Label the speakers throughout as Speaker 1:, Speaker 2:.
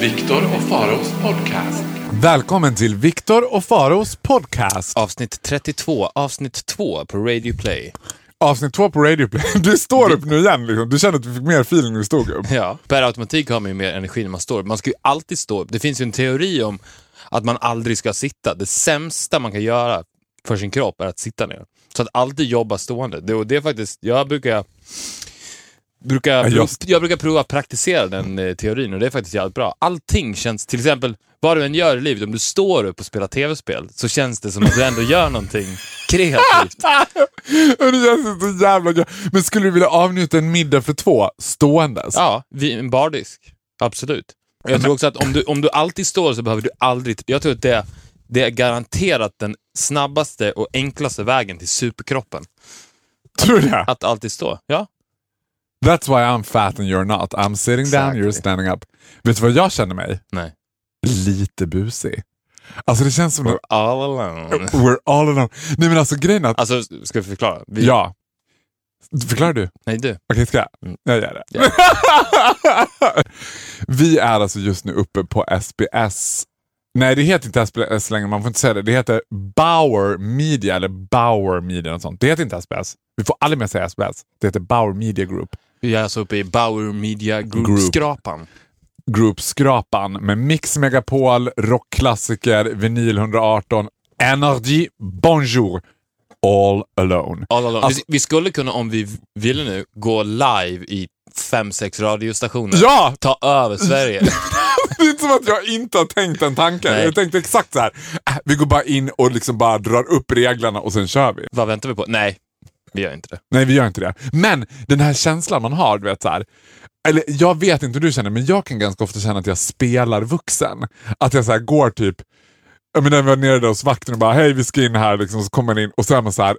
Speaker 1: Viktor och Faros podcast.
Speaker 2: Välkommen till Viktor och Faros podcast.
Speaker 3: Avsnitt 32, avsnitt 2 på Radio Play.
Speaker 2: Avsnitt två på Radio Play. Du står upp nu igen. Liksom. Du känner att du fick mer feeling när du stod upp.
Speaker 3: Ja. Per automatik har man ju mer energi när man står upp. Man ska ju alltid stå upp. Det finns ju en teori om att man aldrig ska sitta. Det sämsta man kan göra för sin kropp är att sitta ner. Så att alltid jobba stående. Det, och det är faktiskt, jag brukar, brukar,
Speaker 2: Ja, just.
Speaker 3: prov- jag brukar prova att praktisera den eh, teorin och det är faktiskt jävligt bra. Allting känns, till exempel vad du än gör i livet, om du står upp och spelar tv-spel så känns det som att du ändå gör någonting kreativt.
Speaker 2: Och det känns så jävla gött. Men skulle du vilja avnjuta en middag för två ståendes?
Speaker 3: Ja, vid en bardisk. Absolut. Och Jag tror också att om du, om du alltid står så behöver du aldrig... Jag tror att det, det är garanterat den snabbaste och enklaste vägen till superkroppen.
Speaker 2: Tror du det?
Speaker 3: Att alltid stå. Ja.
Speaker 2: That's why I'm fat and you're not. I'm sitting down,
Speaker 3: Exactly.
Speaker 2: you're standing up. Vet du vad jag känner mig?
Speaker 3: Nej.
Speaker 2: Lite busig. Alltså det känns som att
Speaker 3: All alone.
Speaker 2: we're all alone. Nej men alltså grejen är att...
Speaker 3: Alltså, ska vi förklara? Vi,
Speaker 2: Ja. Förklarar du?
Speaker 3: Nej, du.
Speaker 2: Okej, ska jag?
Speaker 3: Mm.
Speaker 2: Jag gör det. vi är alltså just nu uppe på SBS. Nej, det heter inte SBS längre. Man får inte säga det. Det heter Bauer Media eller Bauer Media. Något sånt. Det heter inte SBS. Vi får aldrig mer säga SBS. Det heter Bauer Media Group.
Speaker 3: Vi är alltså uppe i Bauer Media
Speaker 2: Group.
Speaker 3: Group-skrapan.
Speaker 2: Group-skrapan med Mix Megapol, rockklassiker, vinyl 118, Energy, Bonjour, All Alone.
Speaker 3: All alone.
Speaker 2: Alltså-
Speaker 3: vi, vi skulle kunna, om vi ville nu, gå live i fem, sex radiostationer.
Speaker 2: Ja!
Speaker 3: Ta över Sverige.
Speaker 2: Det är inte som att jag inte har tänkt den tanken.
Speaker 3: Nej.
Speaker 2: Jag tänkte exakt så här. Äh, vi går bara in och liksom bara drar upp reglerna och sen kör vi.
Speaker 3: Vad väntar vi på? Nej, vi gör inte det.
Speaker 2: Nej, vi gör inte det. Men den här känslan man har, du vet så här. Eller jag vet inte hur du känner, men jag kan ganska ofta känna att jag spelar vuxen. Att jag så här går typ, jag menar, när vi var nere där hos vakten och bara hej vi ska in här, liksom, så kommer man in och så är man så här.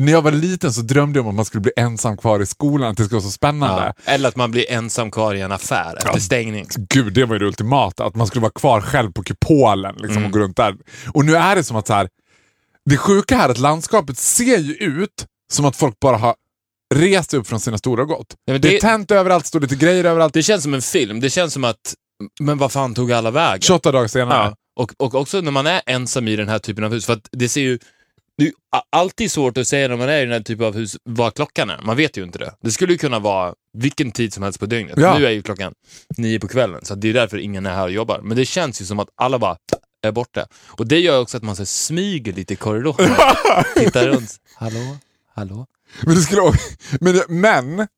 Speaker 2: När jag var liten så drömde jag om att man skulle bli ensam kvar i skolan, att det skulle vara så spännande.
Speaker 3: Ja. Eller att man blir ensam kvar i en affär efter stängning.
Speaker 2: Gud, det var ju det ultimata. Att man skulle vara kvar själv på kupolen liksom,
Speaker 3: Mm.
Speaker 2: och gå runt där. Och nu är det som att så här, det sjuka här är att landskapet ser ju ut som att folk bara har rest upp från sina stora och gått.
Speaker 3: Nej, men
Speaker 2: det... är
Speaker 3: det-
Speaker 2: tänt överallt, står lite grejer överallt.
Speaker 3: Det känns som en film. Det känns som att, men vad fan tog alla vägen?
Speaker 2: 28 dagar senare.
Speaker 3: Ja. Och, och också när man är ensam i den här typen av hus, för att det ser ju det är ju a- alltid svårt att säga när man är i den här typen av hus vad klockan är. Man vet ju inte det. Det skulle ju kunna vara vilken tid som helst på dygnet.
Speaker 2: Ja.
Speaker 3: Nu är ju klockan nio på kvällen, så det är därför ingen är här och jobbar. Men det känns ju som att alla bara är borta. Och det gör också att man så här, smyger lite i korridoren. Tittar runt. Hallå? Hallå?
Speaker 2: Men, det skulle... men, men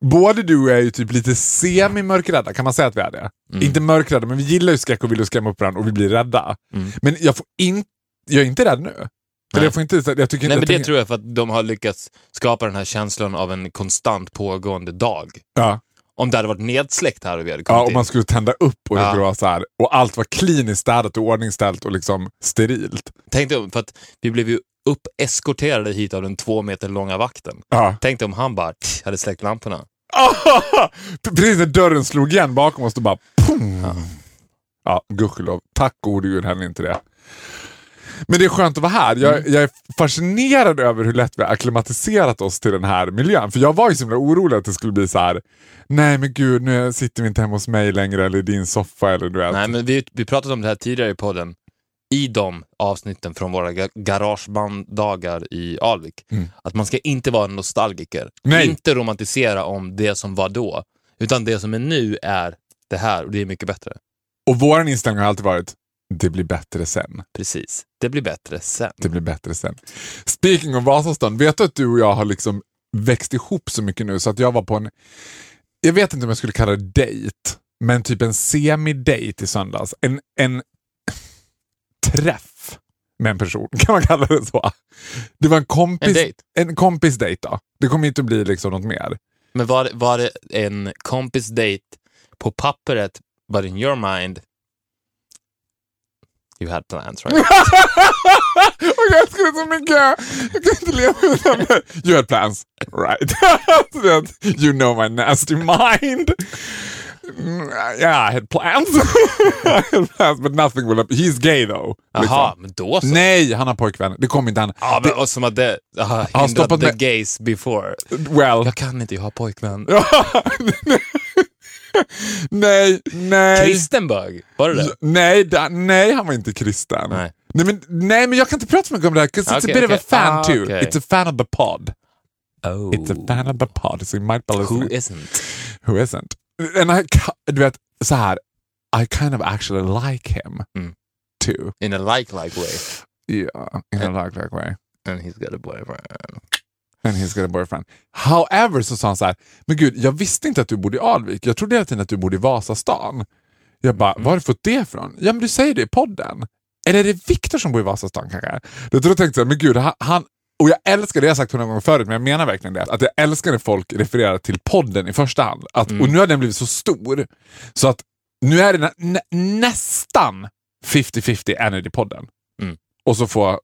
Speaker 2: både du och jag är ju typ lite semi-mörkrädda, kan man säga att vi är det? Inte mörkrädda, men vi gillar ju skräck och vill ju skrämma upp varandra och vi blir rädda.
Speaker 3: Mm.
Speaker 2: Men jag, får in... jag är inte rädd nu. Eller
Speaker 3: Nej.
Speaker 2: jag får inte, jag tycker inte
Speaker 3: Nej, men
Speaker 2: jag
Speaker 3: det
Speaker 2: tänker-
Speaker 3: tror jag för att de har lyckats skapa den här känslan av en konstant pågående dag.
Speaker 2: Ja.
Speaker 3: Om det hade varit nedsläckt här och vi hade kommit
Speaker 2: Ja, och man
Speaker 3: in.
Speaker 2: skulle tända upp och, det
Speaker 3: Ja.
Speaker 2: skulle vara så här, och allt var kliniskt städat och ordningställt och liksom sterilt.
Speaker 3: Tänk dig om, för att vi blev ju uppeskorterade hit av den två meter långa vakten.
Speaker 2: Ja.
Speaker 3: Tänk dig om han bara tch, hade släckt lamporna.
Speaker 2: Precis när dörren slog igen bakom oss, då bara pum. Ja, gudskelov. Tack gode gud hände inte det. Men det är skönt att vara här. Jag,
Speaker 3: Mm.
Speaker 2: jag är fascinerad över hur lätt vi har akklimatiserat oss till den här miljön. För jag var ju så himla orolig att det skulle bli så här. nej men gud, nu sitter vi inte hemma hos mig längre eller i din soffa eller du vet.
Speaker 3: Nej, men vi, vi pratade om det här tidigare i podden. I de avsnitten från våra ga- garagebanddagar i Alvik. Att man ska inte vara en nostalgiker.
Speaker 2: Mm. Nej.
Speaker 3: Inte romantisera om det som var då. Utan det som är nu är det här och det är mycket bättre.
Speaker 2: Och vår inställning har alltid varit, det blir bättre sen.
Speaker 3: Precis. Det blir bättre sen.
Speaker 2: Det blir bättre sen. Speaking of Vasastan, vet du att du och jag har liksom växt ihop så mycket nu så att jag var på en, jag vet inte om jag skulle kalla det dejt, men typ en semi-dejt i söndags. En, en träff med en person. Kan man kalla det så? Det var en kompis...
Speaker 3: En dejt?
Speaker 2: En kompis dejt då. Det kommer inte bli liksom något mer.
Speaker 3: Men var, det- var det en kompis date på pappret, but in your mind, you had plans right?
Speaker 2: Liksom. Och jag älskar det så mycket! Jag kan inte leva utan det. You had plans, right? Så det- you know my nasty mind. Mm, Yeah, I had plans. I had plans, but nothing will happen. He's gay though. Liksom.
Speaker 3: Jaha, men då så.
Speaker 2: Nej, han har pojkvän. Det kommer inte han.
Speaker 3: Ja, men, och som att det aha,
Speaker 2: har
Speaker 3: hindrat
Speaker 2: stoppat
Speaker 3: the
Speaker 2: med-
Speaker 3: gays before.
Speaker 2: Well.
Speaker 3: Jag kan inte, jag har pojkvän.
Speaker 2: nej, nej.
Speaker 3: Kristen bög, var det det?
Speaker 2: Nej, da, nej, han var inte kristen.
Speaker 3: Nej.
Speaker 2: Nej, men, nej, men jag kan inte prata så mycket om det här, 'cause it's
Speaker 3: Okej,
Speaker 2: a bit
Speaker 3: okej.
Speaker 2: of a fan
Speaker 3: Ah,
Speaker 2: too.
Speaker 3: okej.
Speaker 2: It's a fan of the pod.
Speaker 3: Oh.
Speaker 2: It's a fan of the pod, so you might be listening.
Speaker 3: Who isn't?
Speaker 2: Who isn't? And I, ca- du vet, så här, I kind of actually like him
Speaker 3: Mm.
Speaker 2: too.
Speaker 3: In a like-like way.
Speaker 2: Yeah, in a like, like way.
Speaker 3: And he's got a boyfriend.
Speaker 2: And he's got a boyfriend. However, så sa han så här, men gud, jag visste inte att du bodde i Alvik. Jag trodde hela tiden att du bodde i Vasastan. Jag bara, var har du fått det ifrån? Ja, men du säger det i podden. Eller är det Viktor som bor i Vasastan kanske? Då tänkte jag, så här, men gud, han- han... Och jag älskar det, jag har sagt hundra gånger förut, men jag menar verkligen det. Att jag älskar när folk refererar till podden i första hand. Att,
Speaker 3: Mm.
Speaker 2: Och nu har den blivit så stor, så att nu är det nä, nä, nästan 50-50 Energy-podden.
Speaker 3: Mm.
Speaker 2: Och så får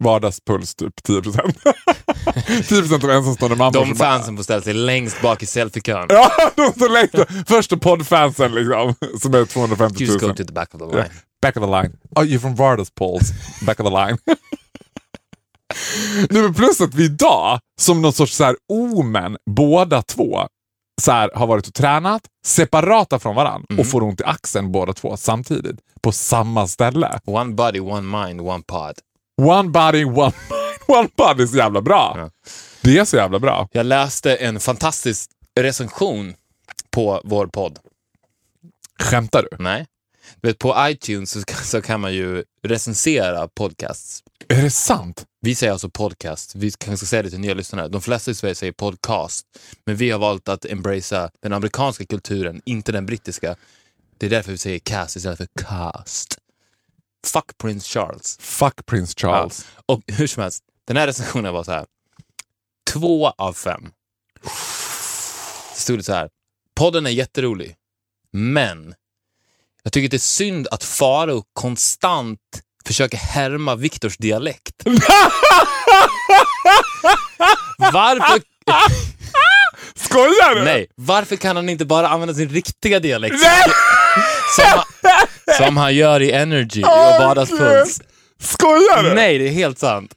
Speaker 2: vardagspuls typ 10 procent. 10 procent av ensamstående mammor.
Speaker 3: De
Speaker 2: som bara-
Speaker 3: fansen får ställa sig längst bak i selfiekön.
Speaker 2: Ja, de står längst Första poddfansen liksom, som är 250
Speaker 3: Just go
Speaker 2: 000.
Speaker 3: to the back of the
Speaker 2: Yeah.
Speaker 3: line.
Speaker 2: Back of the line. Oh, you're from Vardaspols. Back of the line. Nej, men plus att vi idag, som någon sorts så här omen, båda två så här, har varit och tränat separata från varandra
Speaker 3: Mm.
Speaker 2: och får ont i axeln båda två samtidigt på samma ställe.
Speaker 3: One body, one mind, one pod.
Speaker 2: One body, one mind, one body är så jävla bra.
Speaker 3: Ja.
Speaker 2: Det är så jävla bra.
Speaker 3: Jag läste en fantastisk recension på vår podd.
Speaker 2: Skämtar du?
Speaker 3: Nej. Du vet, på iTunes så, så kan man ju recensera podcasts.
Speaker 2: Är det sant?
Speaker 3: Vi säger alltså podcast. Vi kanske ska säga det till nya lyssnare. De flesta i Sverige säger podcast. Men vi har valt att embracea den amerikanska kulturen, inte den brittiska. Det är därför vi säger cast istället för cast. Fuck Prince Charles.
Speaker 2: Fuck Prince Charles.
Speaker 3: Ja. Och hur som helst, den här recensionen var så här. Två av fem. Så stod det så här. Podden är jätterolig, men jag tycker det är synd att Faro konstant försöker härma Viktors dialekt. Varför...
Speaker 2: Skojar du?
Speaker 3: Nej, varför kan han inte bara använda sin riktiga dialekt
Speaker 2: Nej!
Speaker 3: som, han, som han gör i Energy och Vardagspuls?
Speaker 2: Skojar du?
Speaker 3: Nej, det är helt sant.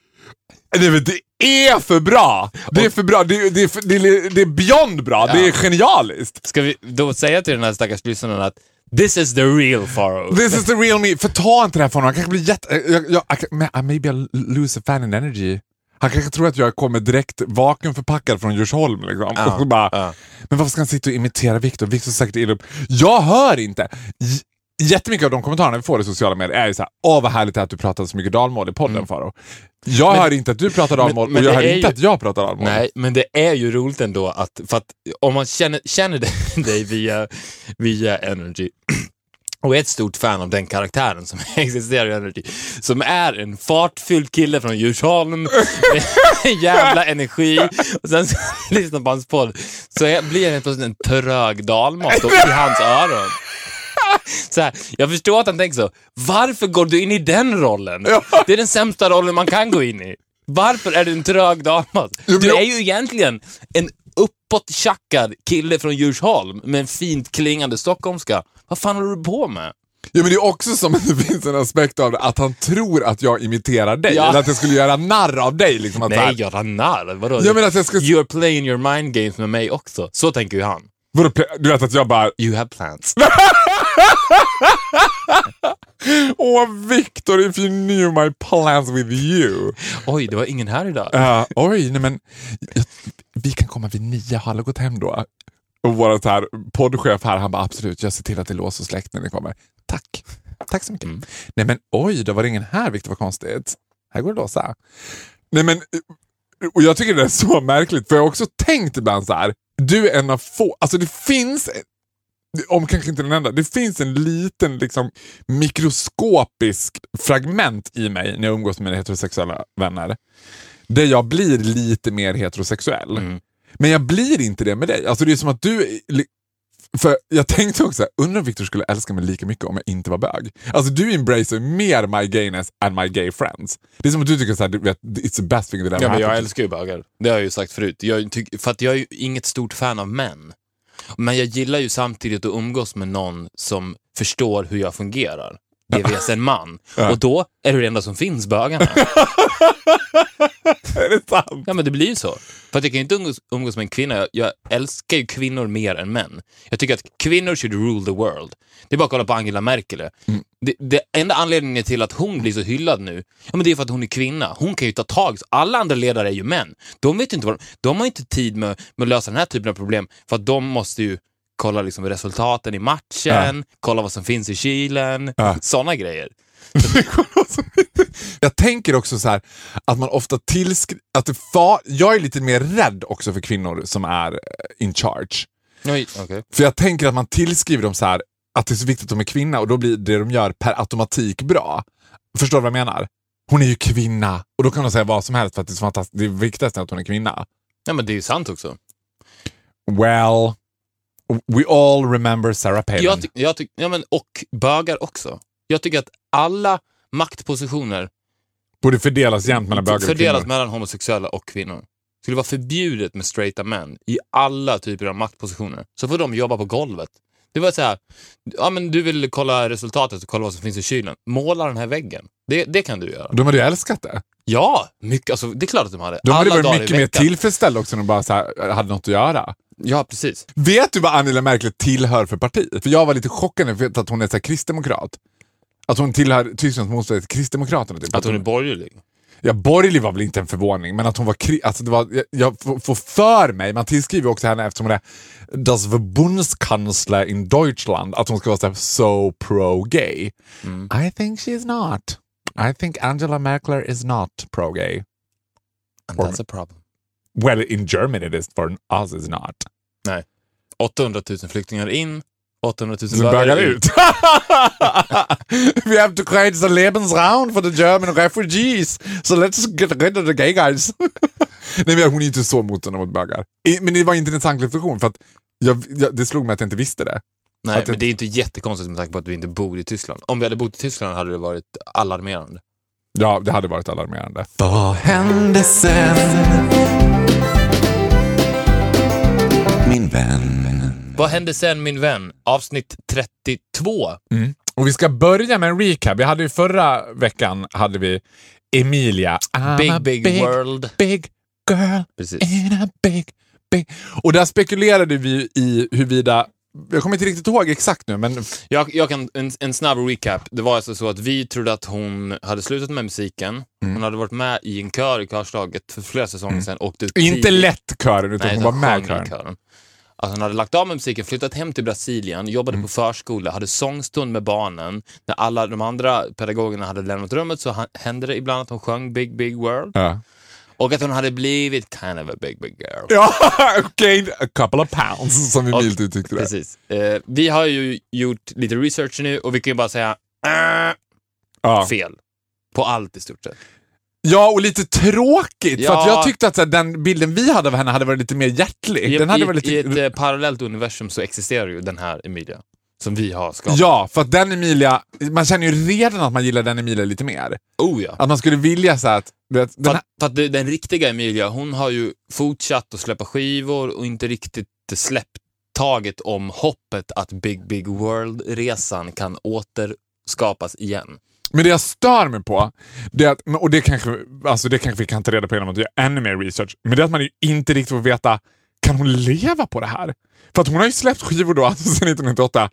Speaker 2: Nej, men det är för bra! Det är för bra. Det är, det är, för, det är, det är beyond bra. Det är genialiskt.
Speaker 3: Ska vi då säga till den här stackars lyssnaren att this is the real Faro?
Speaker 2: This is the real me. För ta inte det här från honom. Han kanske blir jätte... Jag, jag, I can- man- maybe I lose a fan in energy. Han kanske tror att jag kommer direkt vakuumförpackad från Djursholm. Liksom.
Speaker 3: Ja,
Speaker 2: och så bara,
Speaker 3: ja.
Speaker 2: Men varför ska han sitta och imitera Viktor? Viktor är säkert illa upp. Jag hör inte. J- Jättemycket av de kommentarerna vi får i sociala medier är ju såhär, åh vad härligt det är att du pratar så mycket dalmål i podden Faro. Jag hör inte att du pratar dalmål
Speaker 3: men
Speaker 2: och jag
Speaker 3: det
Speaker 2: hör
Speaker 3: är
Speaker 2: inte
Speaker 3: ju-
Speaker 2: att jag pratar dalmål.
Speaker 3: Nej, men det är ju roligt ändå att, för att om man känner, känner dig- dig via, via Energy och är ett stort fan av den karaktären som existerar i Energy, som är en fartfylld kille från Djursholm med en jävla energi och sen så lyssnar på hans podd så är- blir han helt plötsligt en trög dalmat och i hans öron. Så här, jag förstår att han tänker så. Varför går du in i den rollen? Det är den sämsta rollen man kan gå in i. Varför är du en trög dalmas?
Speaker 2: men
Speaker 3: Du
Speaker 2: jag-
Speaker 3: är ju egentligen en uppåttjackad kille från Djursholm med en fint klingande stockholmska. Vad fan håller du på med?
Speaker 2: Ja, men det är också som att det finns en aspekt av det, att han tror att jag imiterar dig.
Speaker 3: Ja.
Speaker 2: Eller att jag skulle göra narr av dig. Liksom, att så
Speaker 3: Nej,
Speaker 2: här,
Speaker 3: jag narr. Vadå?
Speaker 2: Jag menar att jag ska-
Speaker 3: You're playing your mind games med mig också. Så tänker ju han.
Speaker 2: vadå, pl- du vet att jag bara,
Speaker 3: You have plans.
Speaker 2: åh Victor if you knew my plans with you.
Speaker 3: Oj, det var ingen här idag.
Speaker 2: Eh, oj, nej men jag, vi kan komma vid nio, har alla gått hem då? Och vår så här, poddchef här, han bara absolut, jag ser till att det är lås och släkt när ni kommer. Tack. Tack så mycket. Nej men oj, då var det ingen här Victor, vad konstigt. Här går det att låsa. Nej men, och jag tycker det är så märkligt, för jag har också tänkt ibland så här, du är en av få, alltså det finns om kanske inte den enda, det finns en liten liksom, mikroskopisk fragment i mig när jag umgås med mina heterosexuella vänner. Där jag blir lite mer heterosexuell.
Speaker 3: Mm.
Speaker 2: Men jag blir inte det med dig. Alltså det är som att du... För jag tänkte också, undrar om Victor skulle älska mig lika mycket om jag inte var bög. Alltså du embracear mer my gayness and my gay friends. Det är som att du tycker såhär, du vet, it's the best thing that ever
Speaker 3: Ja, men jag
Speaker 2: happened.
Speaker 3: älskar ju bögar. Det har jag ju sagt förut. Jag tyck, för att jag är ju inget stort fan av män. Men jag gillar ju samtidigt att umgås med någon som förstår hur jag fungerar. Det vet en man. Och då är det det enda som finns bögarna.
Speaker 2: Är det sant?
Speaker 3: Ja, men det blir ju så. För att jag kan ju inte umgås, umgås med en kvinna. Jag, jag älskar ju kvinnor mer än män. Jag tycker att kvinnor should rule the world. Det är bara att kolla på Angela Merkel. Det, det enda anledningen till att hon blir så hyllad nu, ja, men det är för att hon är kvinna. Hon kan ju ta tag. Alla andra ledare är ju män. De vet ju inte vad de, de har ju inte tid med, med att lösa den här typen av problem, för att de måste ju kolla liksom resultaten i matchen, kolla vad som finns i kylen,
Speaker 2: Ja.
Speaker 3: såna sådana grejer.
Speaker 2: Alltså, Jag tänker också så här att man ofta tillskriver... Att det fa- jag är lite mer rädd också för kvinnor som är eh, in charge.
Speaker 3: Oj, okej.
Speaker 2: För jag tänker att man tillskriver dem så här att det är så viktigt att de är kvinna och då blir det de gör per automatik bra. Förstår du vad jag menar? Hon är ju kvinna och då kan de säga vad som helst för att det är så fantastiskt. Det viktigaste är att hon är kvinna.
Speaker 3: Ja, men det är ju sant också.
Speaker 2: Well, we all remember Sarah Palin.
Speaker 3: Jag, ty- jag ty- ja, men, och bögar också. Jag tycker att alla maktpositioner
Speaker 2: Borde fördelas jämnt mellan bögar och
Speaker 3: fördelas
Speaker 2: kvinnor.
Speaker 3: mellan homosexuella och kvinnor. Det skulle vara förbjudet med straighta män i alla typer av maktpositioner. Så får de jobba på golvet. Det var så här, ja, men du vill kolla resultatet och kolla vad som finns i kylen. Måla den här väggen. Det, det kan du göra.
Speaker 2: De hade ju älskat det.
Speaker 3: Ja, mycket, alltså, det är klart att de hade.
Speaker 2: De hade
Speaker 3: alla dagar i
Speaker 2: varit mycket mer
Speaker 3: veckan.
Speaker 2: tillfredsställda också när de bara så här, eh, hade något att göra.
Speaker 3: Ja, precis.
Speaker 2: Vet du vad Angela Merkel tillhör för parti? För jag var lite chockad när jag vet att hon är så här kristdemokrat. Att hon tillhör Tysklands motståndare till Kristdemokraterna. Typ.
Speaker 3: Att hon är borgerlig.
Speaker 2: Ja, borgerlig var väl inte en förvåning, men att hon var... Kri- alltså det var jag, jag f- får för mig, man tillskriver också henne eftersom hon är Das Verbundskansler in Deutschland, att hon ska vara så, här, so pro-gay.
Speaker 3: Mm.
Speaker 2: I think she's not. I think Angela Merkel is not pro-gay.
Speaker 3: And that's a problem.
Speaker 2: Well, in Germany it is, for us it's not.
Speaker 3: 800 000 flyktingar in, 800 000
Speaker 2: Sen bögar ut. We have to create the Lebensraum for the German refugees. So let's get rid of the gay guys. Nej, men hon är inte så motståndare mot bögar. I- Men det var inte en intressant reflektion för att jag, jag, det slog mig att jag inte visste det.
Speaker 3: Nej,
Speaker 2: Att det-
Speaker 3: men det är inte jättekonstigt med tanke på att vi inte bor i Tyskland. Om vi hade bott i Tyskland hade det varit alarmerande.
Speaker 2: Ja, det hade varit alarmerande.
Speaker 4: Vad hände sen? Min vän.
Speaker 3: Vad hände sen min vän? Avsnitt 32.
Speaker 2: Och vi ska börja med en recap. Vi hade ju förra veckan hade vi Emilia. I'm a
Speaker 3: Big, big, world.
Speaker 2: Big girl
Speaker 3: Precis.
Speaker 2: in a big, big... Och där spekulerade vi i huruvida... Jag kommer inte riktigt ihåg exakt nu, men
Speaker 3: Jag, jag kan, en, en snabb recap. Det var alltså så att vi trodde att hon hade slutat med musiken. Hon hade varit med i en kör i Körslaget för flera säsonger sedan. Åkte ut
Speaker 2: Inte
Speaker 3: tidigt.
Speaker 2: lätt kören, utan
Speaker 3: Nej,
Speaker 2: hon var med i
Speaker 3: sjöng
Speaker 2: kören.
Speaker 3: Att hon hade lagt av med musiken, flyttat hem till Brasilien, jobbade
Speaker 2: Mm.
Speaker 3: på förskola, hade sångstund med barnen. När alla de andra pedagogerna hade lämnat rummet så ha- hände det ibland att hon sjöng Big Big World.
Speaker 2: Ja.
Speaker 3: Och att hon hade blivit kind of a big big girl.
Speaker 2: Ja, gained a couple of pounds, som vi
Speaker 3: Och-
Speaker 2: milt uttryckte det.
Speaker 3: Precis. Eh, vi har ju gjort lite research nu och vi kan ju bara säga äh,
Speaker 2: Ja.
Speaker 3: fel. På allt i stort sett.
Speaker 2: ja, och lite tråkigt, för
Speaker 3: Ja.
Speaker 2: att jag tyckte att så här, den bilden vi hade av henne hade varit lite mer hjärtlig.
Speaker 3: I,
Speaker 2: Den hade
Speaker 3: i,
Speaker 2: varit
Speaker 3: I
Speaker 2: lite...
Speaker 3: ett eh, parallellt universum så existerar ju den här Emilia, som vi har skapat.
Speaker 2: Ja, för att den Emilia, man känner ju redan att man gillar den Emilia lite mer.
Speaker 3: Oh, ja.
Speaker 2: Att man skulle vilja så här att... du Vet, den
Speaker 3: För,
Speaker 2: här,
Speaker 3: att, för att det- den riktiga Emilia, hon har ju fortsatt att släppa skivor och inte riktigt släppt taget om hoppet att Big Big World-resan kan återskapas igen.
Speaker 2: Men det jag stör mig på, det är att, och det kanske, alltså det kanske vi kan ta reda på genom att göra ännu mer research, men det är att man ju inte riktigt får veta, kan hon leva på det här? För att hon har ju släppt skivor då, alltså sedan 1998,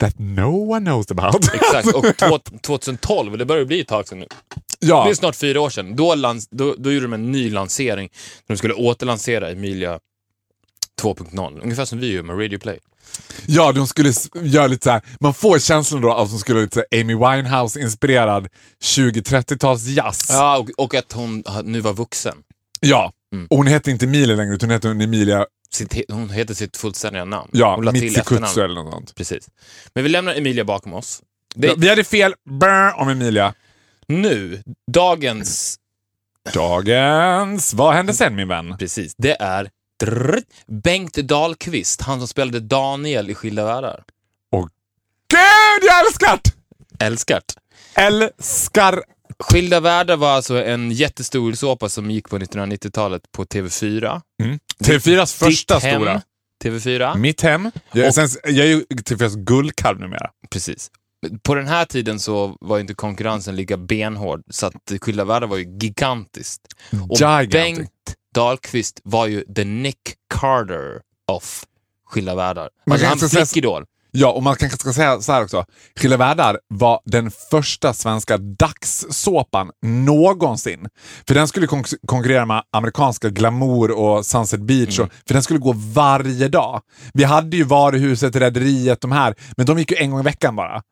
Speaker 2: that no one knows about.
Speaker 3: Exakt, och två- 2012, det börjar ju bli ett tag sedan nu. Det
Speaker 2: ja,
Speaker 3: är snart fyra år sedan. Då, lans, då, då gjorde de en ny lansering. De skulle återlansera Emilia 2.0, ungefär som vi gör med Radio Play.
Speaker 2: ja, de skulle s- göra lite så här, man får känslan då av att hon skulle vara lite så här Amy Winehouse-inspirerad 20-30-tals jazz.
Speaker 3: Ja, och, och att hon ha- nu var vuxen.
Speaker 2: Ja, Och hon hette inte Emilia längre, utan hon hette Emilia
Speaker 3: Sitt, he- hon heter sitt fullständiga namn.
Speaker 2: ja,
Speaker 3: hon la till
Speaker 2: Mitsikutsu
Speaker 3: efternamn.
Speaker 2: eller något sånt.
Speaker 3: Precis. Men vi lämnar Emilia bakom oss. Det är
Speaker 2: Ja, Vi hade fel brr, om Emilia.
Speaker 3: nu, dagens
Speaker 2: Dagens... Vad hände sen min vän?
Speaker 3: Precis. Det är drrrt, Bengt Dahlqvist, han som spelade Daniel i Skilda Världar.
Speaker 2: Gud, jag älskar det!
Speaker 3: Älskat.
Speaker 2: Älskar
Speaker 3: Skilda Världar var alltså en jättestor såpa som gick på 1990-talet på TV4.
Speaker 2: TV4s första
Speaker 3: Ditt hem,
Speaker 2: stora.
Speaker 3: TV4.
Speaker 2: Mitt hem. Jag,
Speaker 3: Och-
Speaker 2: sen, jag är ju TV4s guldkalv numera.
Speaker 3: Precis. På den här tiden så var inte konkurrensen lika benhård, så att Skilda Världar var ju gigantiskt. Och
Speaker 2: Gigantic.
Speaker 3: Bengt Dahlqvist var ju the Nick Carter of Skilda Världar.
Speaker 2: Man
Speaker 3: Alltså
Speaker 2: kan
Speaker 3: han
Speaker 2: också säga-
Speaker 3: flickidol.
Speaker 2: Ja, och man kanske ska säga så här också. Skilda världar var den första svenska dagssåpan någonsin. För den skulle konk- konkurrera med amerikanska Glamour och Sunset Beach. Och, för den skulle gå varje dag. Vi hade ju Varuhuset, Rederiet, de här. Men de gick ju en gång i veckan bara.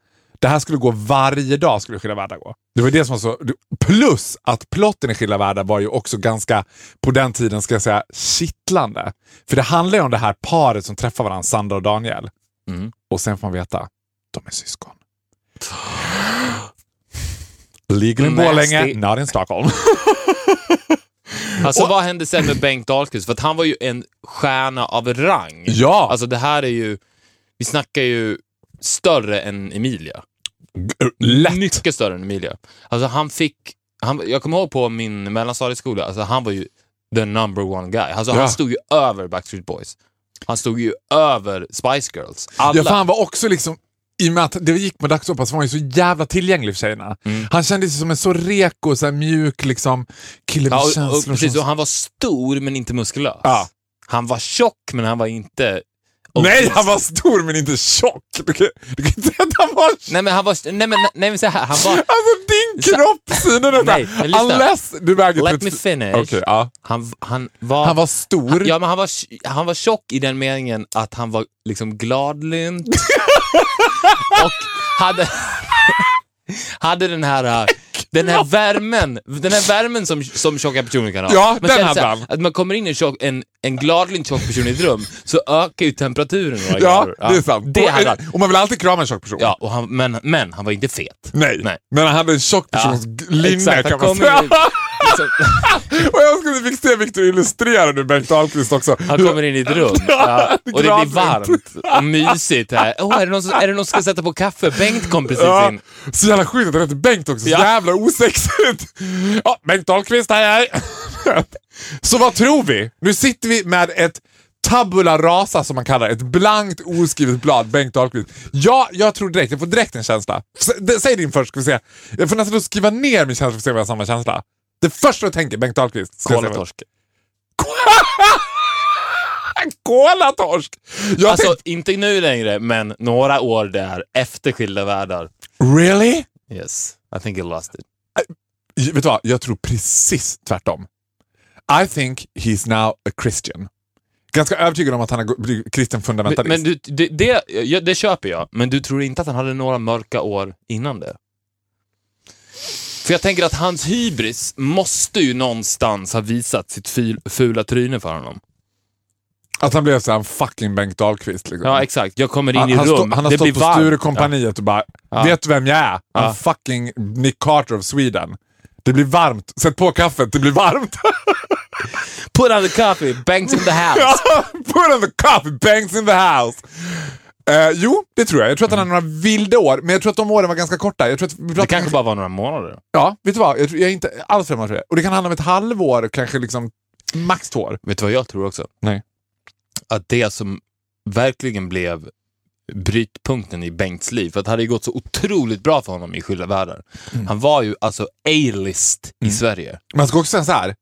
Speaker 2: Det här skulle gå varje dag, skulle Skilda världar gå. Det var det som var så... Plus att plotten i Skilda världar var ju också ganska, på den tiden ska jag säga, kittlande. För det handlar ju om det här paret som träffar varandra, Sandra och Daniel.
Speaker 3: Mm.
Speaker 2: Och sen får man veta, de är syskon. Legal in
Speaker 3: Nasty.
Speaker 2: Borlänge, not in Stockholm.
Speaker 3: Alltså vad hände sen med Bengt Dahlqvist? För att han var ju en stjärna av rang.
Speaker 2: Ja.
Speaker 3: Alltså det här är ju, vi snackar ju större än Emilia.
Speaker 2: Lätt.
Speaker 3: Mycket större än Emilia. Alltså han fick, han, jag kommer ihåg på min mellanstadieskola, alltså han var ju the number one guy. Alltså
Speaker 2: Ja.
Speaker 3: han stod ju över Backstreet Boys. Han stod ju över Spice Girls. Alla.
Speaker 2: Ja, för han var också liksom, i och med att det gick på dagsoppa så var han ju så jävla tillgänglig för tjejerna.
Speaker 3: Mm.
Speaker 2: Han kändes ju som en så reko, så här mjuk liksom, kille med
Speaker 3: ja, och, och,
Speaker 2: känslor.
Speaker 3: precis,
Speaker 2: som-
Speaker 3: och han var stor men inte muskulös.
Speaker 2: Ja.
Speaker 3: Han var tjock men han var inte...
Speaker 2: Nej, han var stor men inte tjock! Du kan, du kan inte säga att han var tjock!
Speaker 3: Nej men han var... Nej men, nej, men så här, han var...
Speaker 2: Alltså din kropp syner detta!
Speaker 3: Nej, men lyssna.
Speaker 2: Unless du väger...
Speaker 3: Let me
Speaker 2: 30
Speaker 3: finish.
Speaker 2: Okej, ja.
Speaker 3: Han, han var...
Speaker 2: Han var stor.
Speaker 3: Ja, men han var, han var tjock i den meningen att han var liksom gladlynt och hade, hade den här äh, den här värmen den här värmen som, som tjocka personer kan ha.
Speaker 2: Ja, den
Speaker 3: sen
Speaker 2: hade
Speaker 3: så här,
Speaker 2: han.
Speaker 3: Att man kommer in i en, tjock, en, en gladlynt tjock person i ett rum så ökar ju temperaturen några
Speaker 2: Ja,
Speaker 3: grader.
Speaker 2: det är sant.
Speaker 3: Det hade han.
Speaker 2: och, och man vill alltid krama en tjock person.
Speaker 3: Ja, och han, men, men han var inte fet.
Speaker 2: Nej.
Speaker 3: Nej.
Speaker 2: men han hade en tjock persons
Speaker 3: Ja,
Speaker 2: linne
Speaker 3: exakt. Han
Speaker 2: kan man
Speaker 3: kom
Speaker 2: säga.
Speaker 3: in- liksom,
Speaker 2: och jag skulle fick se Victor illustrera nu Bengt Ahlqvist också.
Speaker 3: Han kommer in i ett rum ja, och det blir
Speaker 2: Gladlynt.
Speaker 3: varmt och mysigt här. Åh, är, det någon som, är det någon som ska sätta på kaffe? Bengt kom precis
Speaker 2: Ja,
Speaker 3: in.
Speaker 2: så jävla sjukt att det heter Bengt också. Så
Speaker 3: Ja.
Speaker 2: jävla osexigt. Ja, Bengt Ahlqvist, hej hej. så vad tror vi? Nu sitter vi med ett tabula rasa som man kallar det. Ett blankt oskrivet blad, Bengt Ahlqvist. Ja, jag tror direkt. Jag får direkt en känsla. S- det- Säg din först ska vi se. Jag får nästan skriva ner min känsla för att se om jag har samma känsla. Det första jag tänker, Bengt Ahlqvist. ska jag säga.
Speaker 3: Kolatorsk.
Speaker 2: Kolatorsk! Jag
Speaker 3: Alltså,
Speaker 2: tänkte,
Speaker 3: inte nu längre, men några år där efter Skilda Världar.
Speaker 2: really?
Speaker 3: Yes, I think he lost it.
Speaker 2: J- Vet du vad? Jag tror precis tvärtom. I think he's now a Christian. Ganska övertygad om att han har gå- blivit kristen fundamentalist.
Speaker 3: Men, men du, det, det, ja, det köper jag, men du tror inte att han hade några mörka år innan det? För jag tänker att hans hybris måste ju någonstans ha visat sitt fil, fula tryne för honom.
Speaker 2: Att han blev så här en fucking Bengt Dahlqvist. Liksom.
Speaker 3: Ja, exakt. Jag kommer in
Speaker 2: han,
Speaker 3: i
Speaker 2: han,
Speaker 3: rum,
Speaker 2: stå, han har
Speaker 3: det
Speaker 2: stått
Speaker 3: blir
Speaker 2: på
Speaker 3: varmt.
Speaker 2: Sturecompagniet och bara, vet du vem jag är? I'm
Speaker 3: Ja.
Speaker 2: fucking Nick Carter of Sweden. Det blir varmt. Sätt på kaffet, det blir varmt.
Speaker 3: Put on the coffee, bangs in the house.
Speaker 2: Alltså, Put on the coffee, bangs in the house. Eh, jo, det tror jag. Jag tror att han hade några vilda år, men jag tror att de åren var ganska korta. Jag tror att vi
Speaker 3: Det
Speaker 2: pratar-
Speaker 3: kanske bara var några månader.
Speaker 2: Ja, vet du vad? Jag, tror, jag är inte alls främmande för det. Och det kan handla om ett halvår, kanske liksom max två år.
Speaker 3: Vet du vad jag tror också?
Speaker 2: Nej.
Speaker 3: Att det som verkligen blev brytpunkten i Bengts liv, för att det hade ju gått så otroligt bra för honom i Skilda Världar.
Speaker 2: Mm.
Speaker 3: Han var ju alltså A-list i Sverige.
Speaker 2: Man ska också säga så här.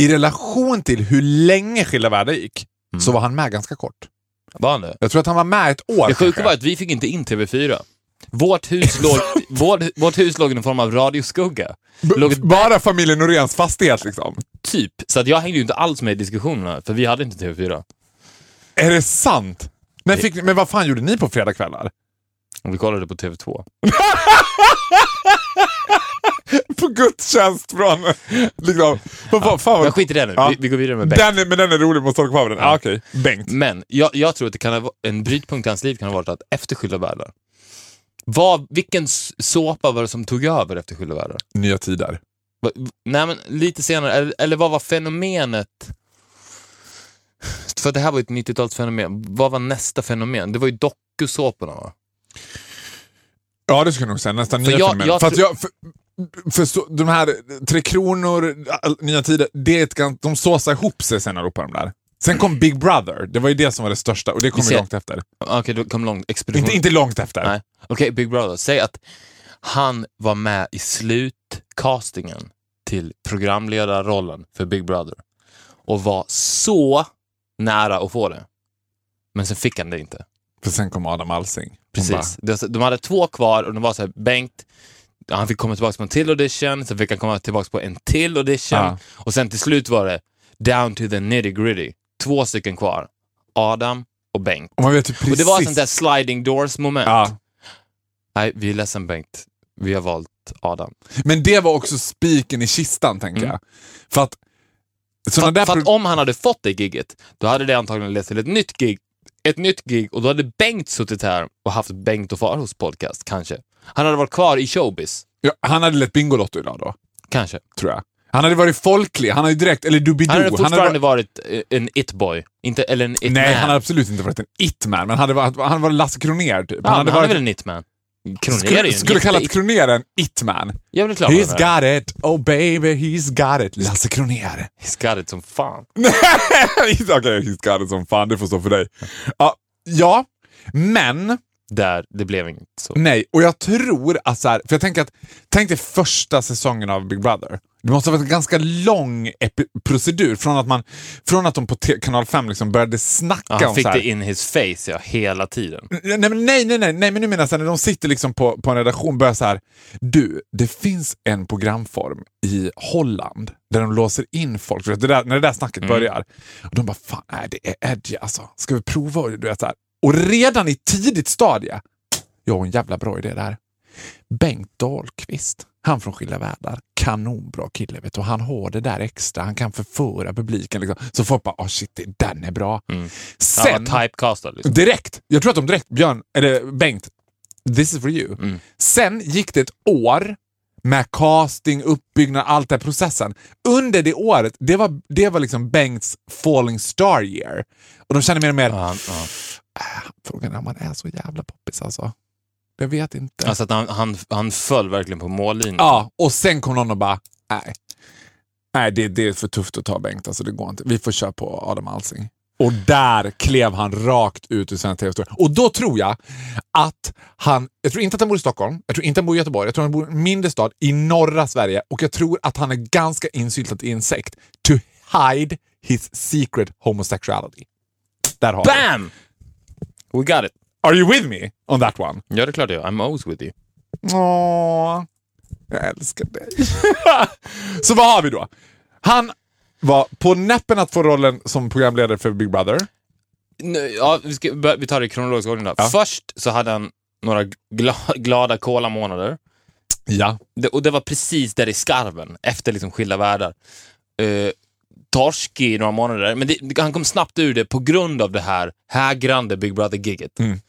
Speaker 2: I relation till hur länge Skilda världar gick
Speaker 3: Mm.
Speaker 2: så var han med ganska kort.
Speaker 3: Var han det?
Speaker 2: Jag tror att han var med ett år.
Speaker 3: Det sjuka
Speaker 2: kanske.
Speaker 3: var att vi fick inte in TV4. Vårt hus låg, vårt, vårt hus låg i någon form av radioskugga.
Speaker 2: B-
Speaker 3: Låg
Speaker 2: Bara familjen Noréns fastighet liksom.
Speaker 3: typ, så att jag hängde ju inte alls med i diskussionerna, för vi hade inte TV4.
Speaker 2: Är det sant? När fick, ni- men vad fan gjorde ni på fredagkvällar?
Speaker 3: Och vi kollade på TV2.
Speaker 2: på gudstjänst från... Liksom, vad- vad- fan vad-
Speaker 3: Men skit i det nu.
Speaker 2: Ja.
Speaker 3: Vi, vi går vidare med Bengt.
Speaker 2: Den är, men den är rolig, måste hålla kvar vid den. Ah, Okej, Bengt.
Speaker 3: Men jag, jag tror att det kan ha, va- en brytpunkt i hans liv kan ha varit att efter Skilda världar. Vad, vilken s- såpa var det som tog över efter Skilda världar?
Speaker 2: Nya tider.
Speaker 3: Va- v- Nej, men lite senare. Eller, eller vad var fenomenet? För det här var ju ett 90-talsfenomen. Vad var nästa fenomen? Det var ju dokusåporna va?
Speaker 2: Ja, det skulle jag nog säga. Nästan
Speaker 3: För
Speaker 2: nya
Speaker 3: jag-
Speaker 2: fenomen.
Speaker 3: jag
Speaker 2: för att
Speaker 3: tror-
Speaker 2: jag, för, för så, de här Tre Kronor, all- Nya Tider, det är ett, gans- de såsar ihop sig sen allihopa de där. Sen kom Big Brother, det var ju det som var det största och det kom ju
Speaker 3: ser-
Speaker 2: långt efter.
Speaker 3: Ah, Okej, då kom långt. Expedition.
Speaker 2: Inte, inte långt efter.
Speaker 3: Nej. Okej, Big Brother. Säg att han var med i slutcastingen till programledarrollen för Big Brother och var så nära att få det. Men sen fick han det inte.
Speaker 2: För sen kom Adam Alsing. Hon bara,
Speaker 3: Precis. De- De hade två kvar och de var så här, Bengt, han fick komma tillbaka på en till audition, sen fick han komma tillbaka på en till audition
Speaker 2: Ja.
Speaker 3: och sen till slut var det down to the nitty gritty. Två stycken kvar. Adam och Bengt.
Speaker 2: Och man vet ju precis.
Speaker 3: Och det var sånt där sliding doors moment.
Speaker 2: ja.
Speaker 3: Nej, vi är ledsen Bengt. Vi har valt Adam.
Speaker 2: Men det var också spiken i kistan, tänker
Speaker 3: Mm.
Speaker 2: jag. För att... såna
Speaker 3: För,
Speaker 2: där
Speaker 3: för att
Speaker 2: pro-
Speaker 3: om han hade fått det giget, då hade det antagligen lett till ett nytt gig. Ett nytt gig och då hade Bengt suttit här och haft Bengt och Faros podcast, kanske. Han hade varit kvar i showbiz,
Speaker 2: ja, han hade lett Bingolotto idag då,
Speaker 3: kanske.
Speaker 2: tror jag. Han hade varit folklig, han hade ju direkt, eller Doobidoo.
Speaker 3: Han hade fortfarande
Speaker 2: varit-
Speaker 3: varit eh, en it-boy, inte, eller en it-man.
Speaker 2: Nej, han hade absolut inte varit en it-man, men hade varit, han var Lasse Kronér typ.
Speaker 3: Ja, men han är väl en it-man? Kronér är ju
Speaker 2: skulle,
Speaker 3: en
Speaker 2: skulle
Speaker 3: jätte-
Speaker 2: kallat Kronér en it-man.
Speaker 3: Ja, det är klart han
Speaker 2: He's
Speaker 3: är.
Speaker 2: got it, oh baby, he's got it. Lasse Kronér.
Speaker 3: He's got it som fan.
Speaker 2: Okej, he's got it som fan, det får stå för dig. Ja, ja men...
Speaker 3: Där, det blev inte så.
Speaker 2: Nej, och jag tror att så här, för jag tänker att, tänk dig första säsongen av Big Brother. Det måste ha varit en ganska lång epi- procedur från att, man, från att de på T- kanal 5 liksom började snacka
Speaker 3: Ja, han
Speaker 2: om
Speaker 3: fick
Speaker 2: så här,
Speaker 3: det in his face ja, hela tiden.
Speaker 2: Nej, men nej, nej, nej, nej, men nu menar jag så här, när de sitter liksom på, på en redaktion och börjar så här. Du, det finns en programform i Holland där de låser in folk. Du vet, Det där, när det där snacket börjar. Och de bara, fan, nej, det är edgy alltså. Ska vi prova? Och Du vet, så här. Och redan i tidigt stadie, jag har en jävla bra idé där. Bengt Dahlqvist, han från Skilda världar, kanonbra kille vet du. Och Han har det där extra, han kan förföra publiken. Liksom. Så folk bara, oh, shit, det- den är bra.
Speaker 3: Han var typecastad. Liksom.
Speaker 2: Direkt! Jag tror att de direkt, Björn, eller Bengt, this is for you.
Speaker 3: Mm.
Speaker 2: Sen gick det ett år med casting, uppbyggnad, allt den processen. Under det året, det var, det var liksom Bengts falling star year. Och de kände mer och mer, "Ah,
Speaker 3: Ja, han, ja.
Speaker 2: frågan är om han är så jävla poppis alltså. Jag vet inte.
Speaker 3: Alltså att han, han, han föll verkligen på mållinjen.
Speaker 2: Ja, och sen kom någon och bara, nej. Nej, det, det är för tufft att ta Bengt. Alltså, det går inte. Vi får köra på Adam Alsing. Och där klev han rakt ut ur svensk tv-historia. Och då tror jag att han, jag tror inte att han bor i Stockholm, jag tror inte han bor i Göteborg, jag tror han bor i en mindre stad i norra Sverige och jag tror att han är ganska insyltad i en sekt. To hide his secret homosexuality. Där har vi.
Speaker 3: Bam! We got it.
Speaker 2: Are you with me on that one?
Speaker 3: Ja, det är klart jag I'm always with you.
Speaker 2: Åh, jag älskar dig. så vad har vi då? Han var på näppen att få rollen som programledare för Big Brother.
Speaker 3: Nu, ja, vi, ska, bör- vi tar det i kronologisk ordning då. Först så hade han några gla, glada kolamånader.
Speaker 2: Ja.
Speaker 3: Det, och det var precis där i skarven, efter liksom skilda världar. Eh, torsk i några månader, men det, han kom snabbt ur det på grund av det här hägrande Big Brother-giget.
Speaker 2: Mm.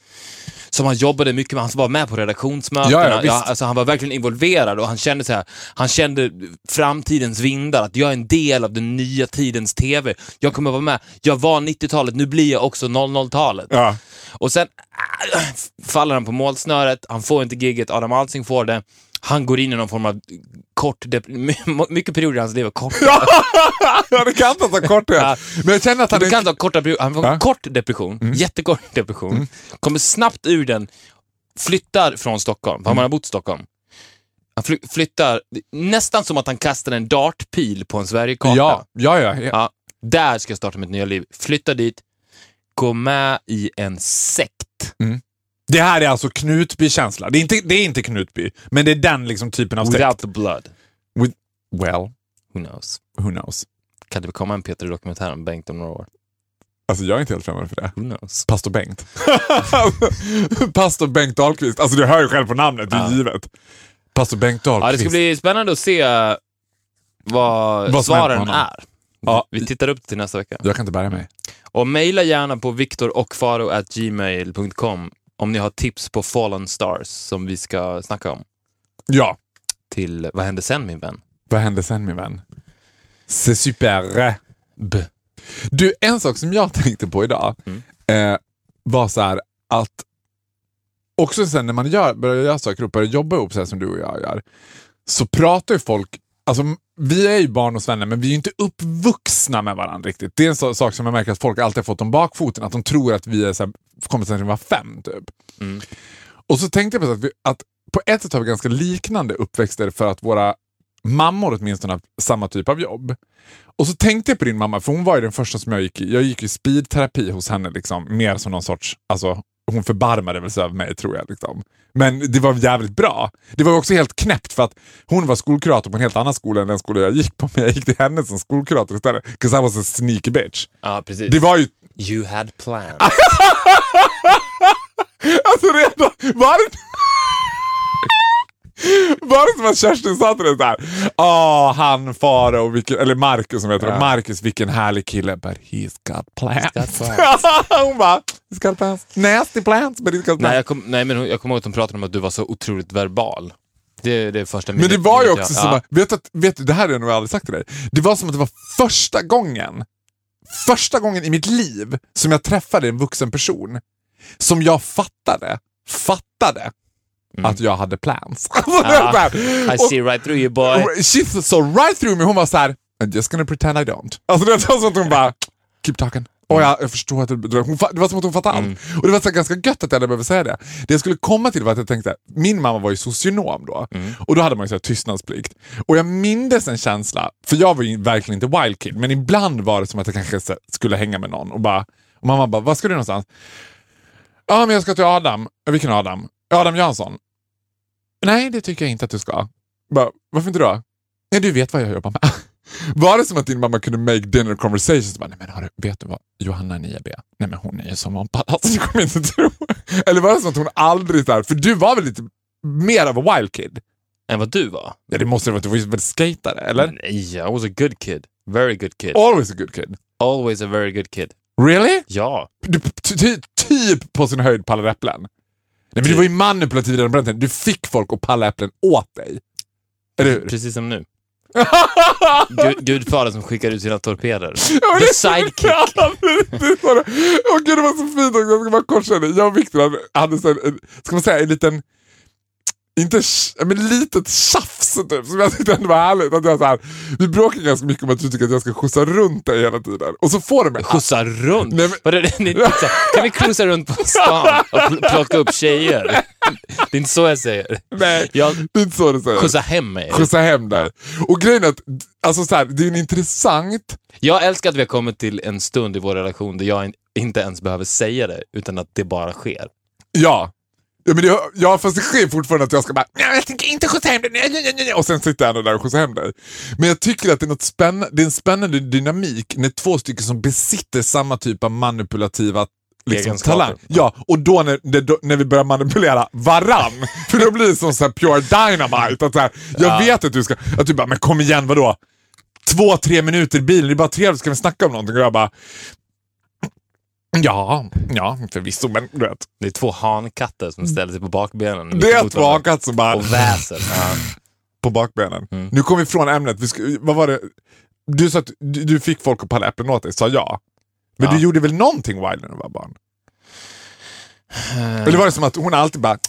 Speaker 3: Som han jobbade mycket med, han var med på redaktionsmötena.
Speaker 2: Ja, ja, visst.
Speaker 3: alltså, han var verkligen involverad och han kände så här, han kände framtidens vindar, att jag är en del av den nya tidens TV. Jag kommer vara med. Jag var 90-talet, nu blir jag också 00-talet.
Speaker 2: ja.
Speaker 3: Och sen ah, faller han på målsnöret, han får inte gigget, Adam Alsing får det. Han går in i någon form av kort... dep- my- Mycket perioder i hans liv är korta.
Speaker 2: det kan inte vara så kort det är. Men jag känner att han
Speaker 3: Du
Speaker 2: är...
Speaker 3: kan ta korta perioder. Han får en
Speaker 2: Ja. Mm.
Speaker 3: kort depression, jättekort depression. Kommer snabbt ur den, flyttar från Stockholm,
Speaker 2: Mm.
Speaker 3: för han har bott i Stockholm. Han fly- flyttar, nästan som att han kastar en dartpil på en Sverigekarta.
Speaker 2: Ja, ja, ja. ja.
Speaker 3: Ja, där ska jag starta mitt nya liv. Flytta dit, gå med i en sekt.
Speaker 2: Det här är alltså Knutby-känsla. Det är, inte, det är inte Knutby, men det är den liksom typen av
Speaker 3: Without
Speaker 2: sekt.
Speaker 3: the blood.
Speaker 2: With, well,
Speaker 3: Who knows?
Speaker 2: who knows?
Speaker 3: Kan det komma en Peter dokumentär om Bengt om några år?
Speaker 2: Alltså jag är inte helt främmande för det.
Speaker 3: Who knows?
Speaker 2: Pastor Bengt. Pastor Bengt Dahlqvist. Alltså du hör ju själv på namnet, det är givet. Pastor Bengt Dahlqvist.
Speaker 3: Ja, det ska bli spännande att se vad,
Speaker 2: Vad som händer
Speaker 3: svaren
Speaker 2: på honom.
Speaker 3: är.
Speaker 2: Ja.
Speaker 3: Vi tittar upp till nästa vecka.
Speaker 2: Jag kan inte bära mig.
Speaker 3: Och mejla gärna på viktorochfaro.gmail.com om ni har tips på Fallen Stars som vi ska snacka om.
Speaker 2: Ja,
Speaker 3: Till Vad hände sen min vän?
Speaker 2: vad hände sen min vän? C'est super.
Speaker 3: B.
Speaker 2: Du, en sak som jag tänkte på idag
Speaker 3: Mm.
Speaker 2: eh, var så här att också sen när man gör, börjar göra saker och börjar jobba ihop så här som du och jag gör, så pratar ju folk, alltså vi är ju barndomsvänner men vi är ju inte uppvuxna med varandra riktigt. Det är en så, sak som jag märker att folk alltid har fått om bakfoten, att de tror att vi är så här, kompisar sedan vi var fem typ.
Speaker 3: Mm.
Speaker 2: Och så tänkte jag på så att, vi, att på ett sätt har vi ganska liknande uppväxter för att våra mammor åtminstone har haft samma typ av jobb. Och så tänkte jag på din mamma, för hon var ju den första som jag gick i. Jag gick ju speedterapi hos henne, liksom, mer som någon sorts... Alltså, hon förbarmade väl sig över mig, tror jag. Liksom. Men det var jävligt bra. Det var ju också helt knäppt för att hon var skolkurator på en helt annan skola än den skola jag gick på. Men jag gick till henne som skolkurator istället. 'Cause I was a sneaky bitch.
Speaker 3: Ja, precis.
Speaker 2: Det var ju...
Speaker 3: You had plans.
Speaker 2: Alltså redan... Var det... Var det som att Kerstin sa till dig såhär, ah han Farao, vilken- eller Marcus som heter det, Marcus vilken härlig kille, but he's got plans.
Speaker 3: He's got plans.
Speaker 2: Hon bara, he's got plans. Nasty plans, but he's got
Speaker 3: nej,
Speaker 2: plans.
Speaker 3: jag kom, nej, men hon- jag kommer ihåg att de pratade om att du var så otroligt verbal. Det är det första
Speaker 2: Men det var ju
Speaker 3: minnet
Speaker 2: också
Speaker 3: jag-
Speaker 2: som
Speaker 3: ja.
Speaker 2: att, vet, du att- vet du, det här har jag nog aldrig sagt till dig. Det var som att det var första gången, första gången i mitt liv som jag träffade en vuxen person som jag fattade, fattade att jag hade plans. Alltså, det var så här.
Speaker 3: Mm. Ah, I see right through you boy.
Speaker 2: Och, she saw right through me, hon var såhär, I'm just gonna pretend I don't. Alltså det var som att hon bara, keep talking. Och jag, jag förstår att du- hon, fa- det var som att hon fattade allt. Och det var så här ganska gött att jag aldrig behövde säga det. Det jag skulle komma till var att jag tänkte, min mamma var ju socionom då. Och då hade man ju så här tystnadsplikt. Och jag mindes en känsla, för jag var ju verkligen inte wild kid, men ibland var det som att jag kanske så här skulle hänga med någon och bara, och mamma bara, vad ska du någonstans? Ja, men jag ska till Adam. Vilken Adam? Adam Jansson. Nej, det tycker jag inte att du ska. Bara, varför inte då? Nej, du vet vad jag jobbar med. Var det som att din mamma kunde make dinner conversations? Bara, Nej, men hörru, vet du vad? Johanna 9B, nej men hon är ju som Montpad. Alltså, du kommer inte tro. Eller var det som att hon aldrig... Där, för du var väl lite mer av a wild kid?
Speaker 3: Än vad du var.
Speaker 2: Ja, det måste det vara. Du var ju väl skatare, eller?
Speaker 3: Nej, Mm, I was a good kid. Very good kid.
Speaker 2: Always a good kid.
Speaker 3: Always a very good kid.
Speaker 2: Really?
Speaker 3: Ja.
Speaker 2: Du, ty, ty, typ på sin höjd pallar äpplen. Nej, men du var ju manipulativ redan på den tiden. Du fick folk att palla äpplen åt dig. Eller hur?
Speaker 3: Precis som nu. Gud, gudfadern som skickar ut sina torpeder.
Speaker 2: men det
Speaker 3: The
Speaker 2: är så
Speaker 3: sidekick.
Speaker 2: jävla mysigt var det. Åh gud, det var så fint också. Jag ska bara kort säga det. Jag och Viktor hade, hade så här, en, ska man säga, en liten, inte, tj- men litet tjafs typ, som jag tyckte ändå var härligt. Att jag så här, vi bråkar ganska mycket om att du tycker att jag ska skjutsa runt dig hela tiden. Och så får du mig.
Speaker 3: Skjutsa runt?
Speaker 2: Nej, men-
Speaker 3: Vadå, det, det, är inte så här, kan vi cruisa runt på stan och pl- plocka upp tjejer? Det är inte så jag säger.
Speaker 2: Nej,
Speaker 3: Jag
Speaker 2: det är inte så det säger.
Speaker 3: skjutsar hem mig.
Speaker 2: Skjutsa hem dig. Och grejen är att alltså så här, det är en intressant...
Speaker 3: Jag älskar att vi har kommit till en stund i vår relation där jag in- inte ens behöver säga det, utan att det bara sker.
Speaker 2: Ja. Ja, men det, ja, fast det sker fortfarande att jag ska bara nej, jag tänker inte skjutsa hem dig. Nej, nej, nej, nej. Och sen sitter jag ändå där och skjutsar hem dig. Men jag tycker att det är, något spänn, det är en spännande dynamik när två stycken som besitter samma typ av manipulativa liksom,
Speaker 3: Egenskaper.
Speaker 2: talang. Ja, och då när, det, då när vi börjar manipulera varann. För då blir det som så här pure dynamite. Att så här, jag vet att du ska... Att du bara, men kom igen, vadå? Två, tre minuter i bilen, det är bara trevligt, ska vi snacka om någonting? Och jag bara, ja, ja, förvisso, men du vet.
Speaker 3: Det är två hankatter som ställer sig på bakbenen.
Speaker 2: Mm. Det är
Speaker 3: mot
Speaker 2: två
Speaker 3: varandra
Speaker 2: hakat som bara
Speaker 3: Och Mm. väser. Ja.
Speaker 2: på bakbenen. Nu kom vi ifrån ämnet. Vi sk- vad var det? Du sa att du, du fick folk att palla äpplen åt dig, sa jag. Men
Speaker 3: Ja.
Speaker 2: du gjorde väl någonting wild när du var barn? Eller var det som att hon alltid bara... You're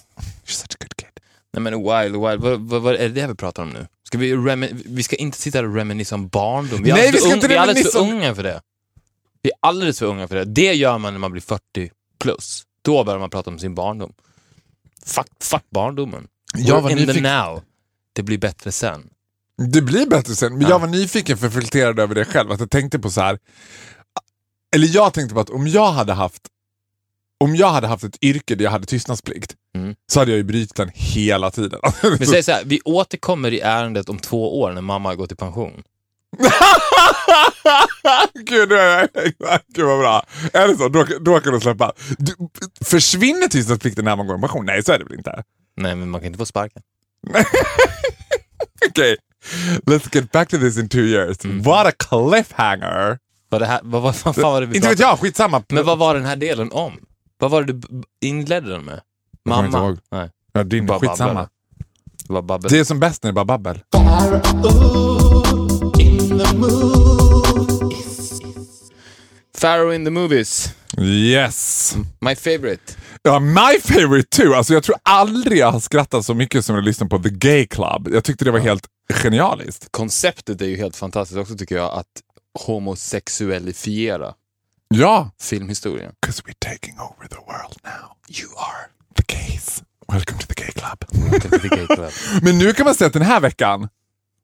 Speaker 2: such a good kid.
Speaker 3: Nej men wild, wild. Vad, vad, vad är det här vi pratar om nu? Ska vi, remi- vi ska inte sitta här och reminissa om barndom. Vi är,
Speaker 2: Nej,
Speaker 3: alldeles
Speaker 2: vi ska
Speaker 3: för
Speaker 2: inte
Speaker 3: vi är alldeles för
Speaker 2: reminissa om-
Speaker 3: unga för det. Vi är alldeles för unga för det. Det gör man när man blir 40 plus. Då börjar man prata om sin barndom. Fuck, fuck barndomen.
Speaker 2: Jag
Speaker 3: We're
Speaker 2: var
Speaker 3: in the
Speaker 2: nyfiken.
Speaker 3: now. Det blir bättre sen.
Speaker 2: Det blir bättre sen, men
Speaker 3: Ja.
Speaker 2: jag var nyfiken för jag reflekterade över det själv. Att jag tänkte på så här. Eller jag tänkte på att om jag hade haft om jag hade haft ett yrke där jag hade tystnadsplikt
Speaker 3: Mm.
Speaker 2: så hade jag ju brutit den hela tiden.
Speaker 3: Men säg så här, vi återkommer i ärendet om två år när mamma har gått i pension.
Speaker 2: Gud, det är, gud vad bra. Är det så? Då, då kan du släppa. Du, försvinner tystnadsplikten när man går i pension? Nej, så är det väl inte?
Speaker 3: Nej, men man kan inte få sparken.
Speaker 2: Okej, let's get back to this in two years. What a cliffhanger!
Speaker 3: Vad, det här, vad, vad Mm. fan var det vi
Speaker 2: Inte vet
Speaker 3: pratade-
Speaker 2: jag, skitsamma.
Speaker 3: Men vad var den här delen om? Vad var det du b- inledde den med?
Speaker 2: kommer inte
Speaker 3: Mamma?
Speaker 2: ihåg.
Speaker 3: Nej,
Speaker 2: ja, din,
Speaker 3: Bara
Speaker 2: skitsamma.
Speaker 3: babblar. det var babbel.
Speaker 2: Det är som bäst när det bara babbel.
Speaker 3: Pharaoh in the movies.
Speaker 2: Yes!
Speaker 3: My favorite.
Speaker 2: Ja, my favorite too. Alltså, jag tror aldrig jag har skrattat så mycket som när jag lyssnade på The Gay Club. Jag tyckte det var helt genialiskt.
Speaker 3: Konceptet är ju helt fantastiskt också tycker jag, att homosexuellifiera
Speaker 2: Ja,
Speaker 3: filmhistorien.
Speaker 2: 'cause we're taking over the world now. You are the gays. Welcome to the gay club. Men nu kan man säga att den här veckan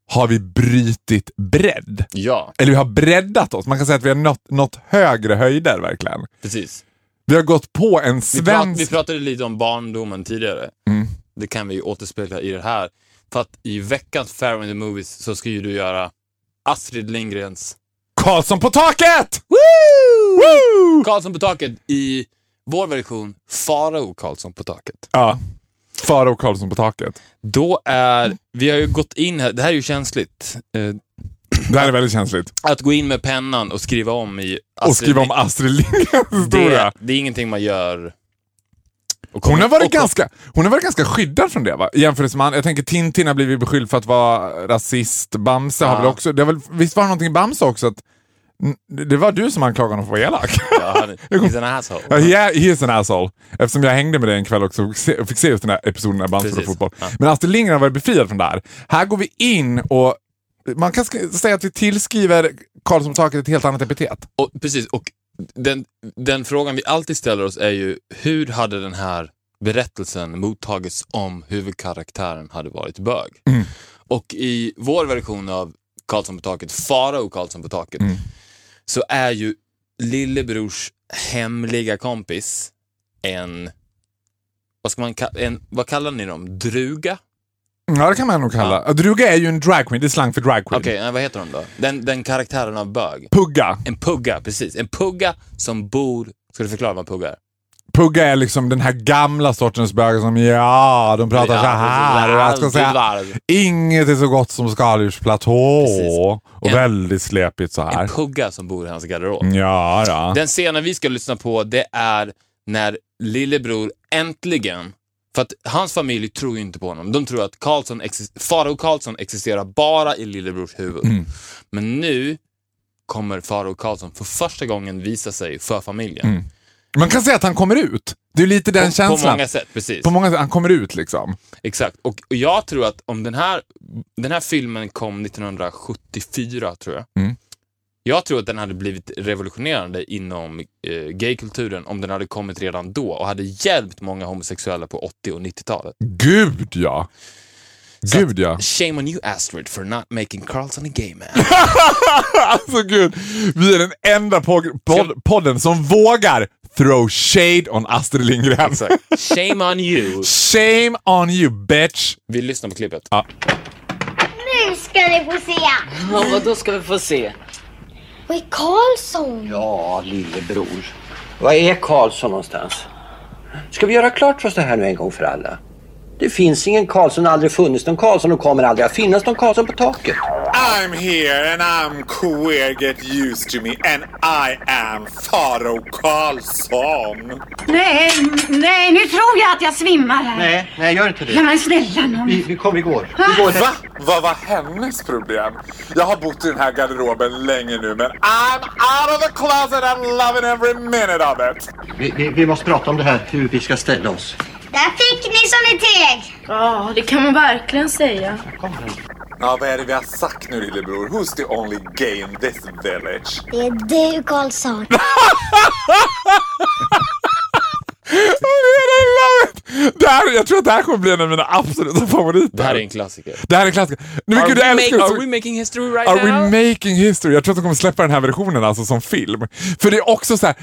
Speaker 2: har vi brytit bredd.
Speaker 3: ja,
Speaker 2: Eller vi har breddat oss. Man kan säga att vi har nått, nått högre höjder verkligen.
Speaker 3: precis.
Speaker 2: Vi har gått på en
Speaker 3: Vi, prat, vi
Speaker 2: svensk...
Speaker 3: pratade lite om barndomen tidigare. Det kan vi ju återspegla i det här. För att i veckans Fair in the Movies så ska ju du göra Astrid Lindgrens
Speaker 2: Karlsson på taket! Woo! Woo!
Speaker 3: Karlsson på taket i vår version Farao Karlsson på taket.
Speaker 2: Ja. Farao Karlsson på taket.
Speaker 3: Då är, vi har ju gått in här, det här är ju känsligt, eh,
Speaker 2: Det här är väldigt känsligt.
Speaker 3: att gå in med pennan och skriva om i Alltså,
Speaker 2: Och skriva om Astrid Lindgrens historia.
Speaker 3: Det, det är ingenting man gör. Och
Speaker 2: Hon har, varit
Speaker 3: och-
Speaker 2: ganska, hon har varit ganska skyddad från det va? I jämförelse med han, Jag tänker Tintin har blivit beskylld för att vara rasist. Bamse har
Speaker 3: Ja.
Speaker 2: väl också... Det har väl, visst var det någonting i Bamse också? Att, n- det var du som anklagade honom för att vara elak.
Speaker 3: Ja, han, he's an asshole.
Speaker 2: Ja, he, he is an asshole. Eftersom jag hängde med dig en kväll också och se- och fick se just den här episoden när Bamse spelade
Speaker 3: Precis.
Speaker 2: fotboll.
Speaker 3: Ja.
Speaker 2: Men Astrid Lindgren har varit befriad från det här. Här går vi in och man kan sk- säga att vi tillskriver Karlsson på taket ett helt annat epitet.
Speaker 3: Och, precis, och den, den frågan vi alltid ställer oss är ju hur hade den här berättelsen mottagits om huvudkaraktären hade varit bög? Och i vår version av Karlsson på taket, Farao Karlsson på taket, så är ju lillebrors hemliga kompis en, vad, ska man, ka- en, vad kallar ni dem? Druga?
Speaker 2: Ja, det kan man nog kalla. Druga är ju en dragqueen, det är slang för dragqueen.
Speaker 3: Okej, nej, vad heter de då? Den, den karaktären av bög.
Speaker 2: Pugga.
Speaker 3: En pugga, precis. En pugga som bor... Ska du förklara vad en pugga är?
Speaker 2: Pugga är liksom den här gamla sortens bögar som ja, de pratar så här. och Jag ska säga, inget är så gott som skaldjursplatå.
Speaker 3: Precis.
Speaker 2: Och
Speaker 3: En-
Speaker 2: väldigt släpigt så
Speaker 3: En
Speaker 2: här. Mm.
Speaker 3: pugga som bor i hans garderob.
Speaker 2: Ja, ja.
Speaker 3: Den scenen vi ska lyssna på, det är när lillebror äntligen... För att hans familj tror ju inte på honom. De tror att Karlsson exis- Farao Karlsson existerar bara i lillebrors huvud.
Speaker 2: Mm.
Speaker 3: Men nu kommer Farao Karlsson för första gången visa sig för familjen.
Speaker 2: Man kan säga att han kommer ut. Det är lite Mm. den
Speaker 3: På,
Speaker 2: känslan.
Speaker 3: på många sätt, precis.
Speaker 2: På många sätt, han kommer ut liksom.
Speaker 3: Exakt, och och jag tror att om den här, den här filmen kom 1974, tror jag.
Speaker 2: Mm.
Speaker 3: Jag tror att den hade blivit revolutionerande inom eh, gaykulturen om den hade kommit redan då och hade hjälpt många homosexuella på 80 och 90-talet.
Speaker 2: Gud ja!
Speaker 3: Så
Speaker 2: Gud ja!
Speaker 3: Shame on you Astrid for not making Carlson a gay man.
Speaker 2: Alltså gud, vi är den enda pod- pod- podden som vågar throw shade on Astrid Lindgren.
Speaker 3: Exakt. Shame on you.
Speaker 2: Shame on you bitch!
Speaker 3: Vi lyssnar på klippet.
Speaker 5: Nu ska ni få se!
Speaker 6: Ja, vad då ska vi få se?
Speaker 5: Och i Karlsson.
Speaker 6: Ja, lillebror. Vad är Karlsson någonstans? Ska vi göra klart för oss det här nu en gång för alla? Det finns ingen Karlsson, aldrig funnits någon Karlsson och kommer aldrig att finnas någon Karlsson på taket.
Speaker 2: I'm here and I'm queer, get used to me and I am Faro Karlsson.
Speaker 7: Nej, nej, nu tror jag att jag svimmar här.
Speaker 6: Nej, nej gör inte
Speaker 7: Ja, men snälla nån.
Speaker 6: Vi, vi kom igår. Vi går.
Speaker 2: Va? Vad var hennes problem? Jag har bott i den här garderoben länge nu men I'm out of the closet, I'm loving every minute of it.
Speaker 6: Vi, vi, vi måste prata om det här, hur vi ska ställa oss.
Speaker 5: Där fick ni som ni teg!
Speaker 8: Ja, det kan man verkligen säga.
Speaker 2: Ja, vad är det vi har sagt nu lillebror? Who's the only gay in this village?
Speaker 5: Det är du Karlsson.
Speaker 2: Det här, jag tror att det här kommer bli en av mina absoluta favoriter.
Speaker 3: Det här är en klassiker.
Speaker 2: Det här är en klassiker. Nej, men
Speaker 3: Are
Speaker 2: gud, jag
Speaker 3: we,
Speaker 2: älskar
Speaker 3: make,
Speaker 2: det.
Speaker 3: are we making history right
Speaker 2: Are we
Speaker 3: now?
Speaker 2: making history? Jag tror att de kommer släppa den här versionen alltså som film. För det är också så här,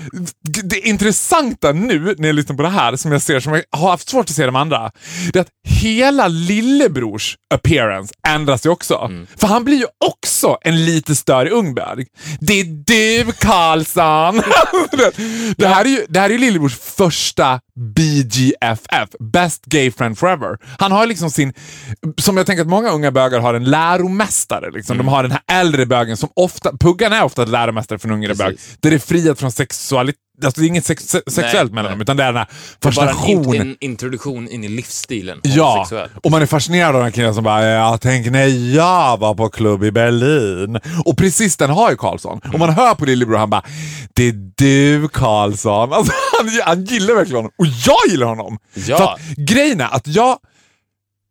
Speaker 2: g- det intressanta nu när jag lyssnar på det här, som jag ser som jag har haft svårt att se de andra, det är att hela lillebrors appearance ändras ju också.
Speaker 3: Mm.
Speaker 2: För han blir ju också en lite större Ungberg. Det är du Karlsson! det, här är ju, det här är ju lillebrors första BGFF, Best Gay Friend Forever. Han har liksom sin, som jag tänker att många unga bögar har en läromästare. Liksom.
Speaker 3: Mm.
Speaker 2: De har den här äldre bögen som ofta, puggan är ofta läromästare för en yngre bög.
Speaker 3: Precis.
Speaker 2: Där det är frihet från sexualitet, alltså det är inget sex, se- sexuellt mellan
Speaker 3: nej.
Speaker 2: dem utan det är den här
Speaker 3: Bara en,
Speaker 2: fascinationen.
Speaker 3: in, en introduktion in i livsstilen.
Speaker 2: Ja,
Speaker 3: homosexuell.
Speaker 2: och man är fascinerad av den killen som bara ja, tänk när jag var på klubb i Berlin. Och precis den har ju Karlsson. Och man hör på Lillebror han bara det är du Karlsson. Alltså, han, han gillar verkligen honom och jag gillar honom.
Speaker 3: Ja.
Speaker 2: För att, grejen är att jag,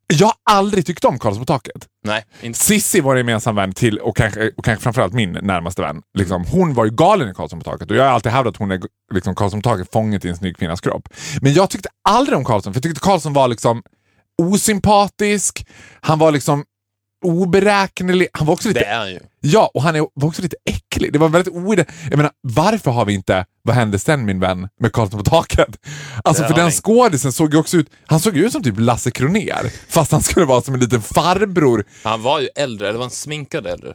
Speaker 2: jag har aldrig tyckt om Karlsson på taket.
Speaker 3: Nej, inte.
Speaker 2: Sissi var en gemensam vän till, och kanske, och kanske framförallt min närmaste vän. Liksom, hon var ju galen i Karlsson på taket och jag har alltid hävdat att hon är liksom, Karlsson på taket fånget i en snygg kvinnas kropp. Men jag tyckte aldrig om Karlsson, för jag tyckte Karlsson var liksom osympatisk, han var liksom oberäknelig, han var också lite
Speaker 3: Det är han ju.
Speaker 2: Ja, och han är, var också lite äcklig. Det var väldigt oide. Jag menar, varför har vi inte Vad hände sen min vän med Karlsson på taket? Alltså
Speaker 3: Det
Speaker 2: för
Speaker 3: har
Speaker 2: den
Speaker 3: vi.
Speaker 2: skådisen såg ju också ut, han såg ju ut som typ Lasse Kronér fast han skulle vara som en liten farbror.
Speaker 3: Han var ju äldre, eller var han sminkad äldre?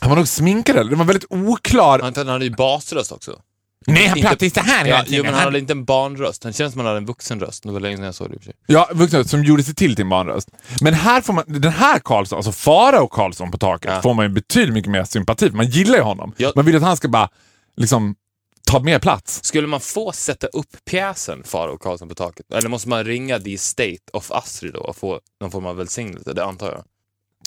Speaker 2: Han var nog sminkad eller? Den var väldigt oklar.
Speaker 3: Han, han hade ju basröst också.
Speaker 2: Nej, han
Speaker 3: Inte-
Speaker 2: pratade inte här
Speaker 3: Ja,
Speaker 2: hela
Speaker 3: jo,
Speaker 2: tiden.
Speaker 3: men han
Speaker 2: Han-
Speaker 3: hade inte en barnröst. Han känns som han hade en vuxenröst. Det var länge sedan jag såg det i och för sig.
Speaker 2: Ja, vuxna som gjorde sig till till en barnröst. Men här får man, den här Karlsson, alltså Farao och Karlsson på taket,
Speaker 3: Ja.
Speaker 2: får man ju betydligt mycket mer sympati för. Man gillar ju honom.
Speaker 3: Ja.
Speaker 2: Man vill att han ska bara liksom ta mer plats.
Speaker 3: Skulle man få sätta upp pjäsen Farao och Karlsson på taket? Eller måste man ringa The State of Astrid då och få någon form av välsignelse? Det antar jag.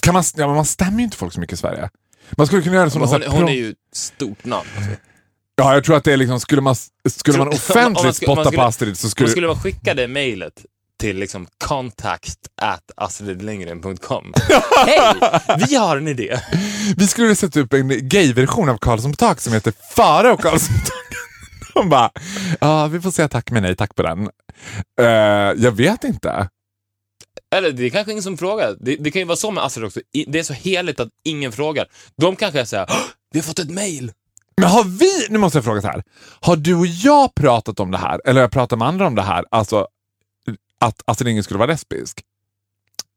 Speaker 2: Kan man, ja, men man stämmer ju inte folk så mycket i Sverige. Man skulle kunna göra det som
Speaker 3: Men
Speaker 2: någon sån
Speaker 3: hon,
Speaker 2: här
Speaker 3: hon är
Speaker 2: pro-
Speaker 3: ju ett stort namn. Alltså.
Speaker 2: Ja, jag tror att det är liksom, skulle man, skulle man
Speaker 3: Tror-
Speaker 2: offentligt
Speaker 3: om man skulle- om man
Speaker 2: spotta på
Speaker 3: skulle-
Speaker 2: Astrid så skulle...
Speaker 3: Skulle... skulle man skicka det mejlet till liksom contact at astridlindgren.com. Hej! Vi har en idé.
Speaker 2: Vi skulle sätta upp en gay-version av Karlsson på taket som heter Farao och Karlsson på taket. De bara, ja vi får säga tack men nej tack på den. Eh, jag vet inte.
Speaker 3: Eller det är kanske ingen som frågar. Det, det kan ju vara så med Astrid också. I, det är så heligt att ingen frågar. De kanske säger vi har fått ett mejl.
Speaker 2: Men har vi, nu måste jag fråga så här. Har du och jag pratat om det här? Eller har jag pratat med andra om det här? Alltså att Astrid Lindgren skulle vara lesbisk?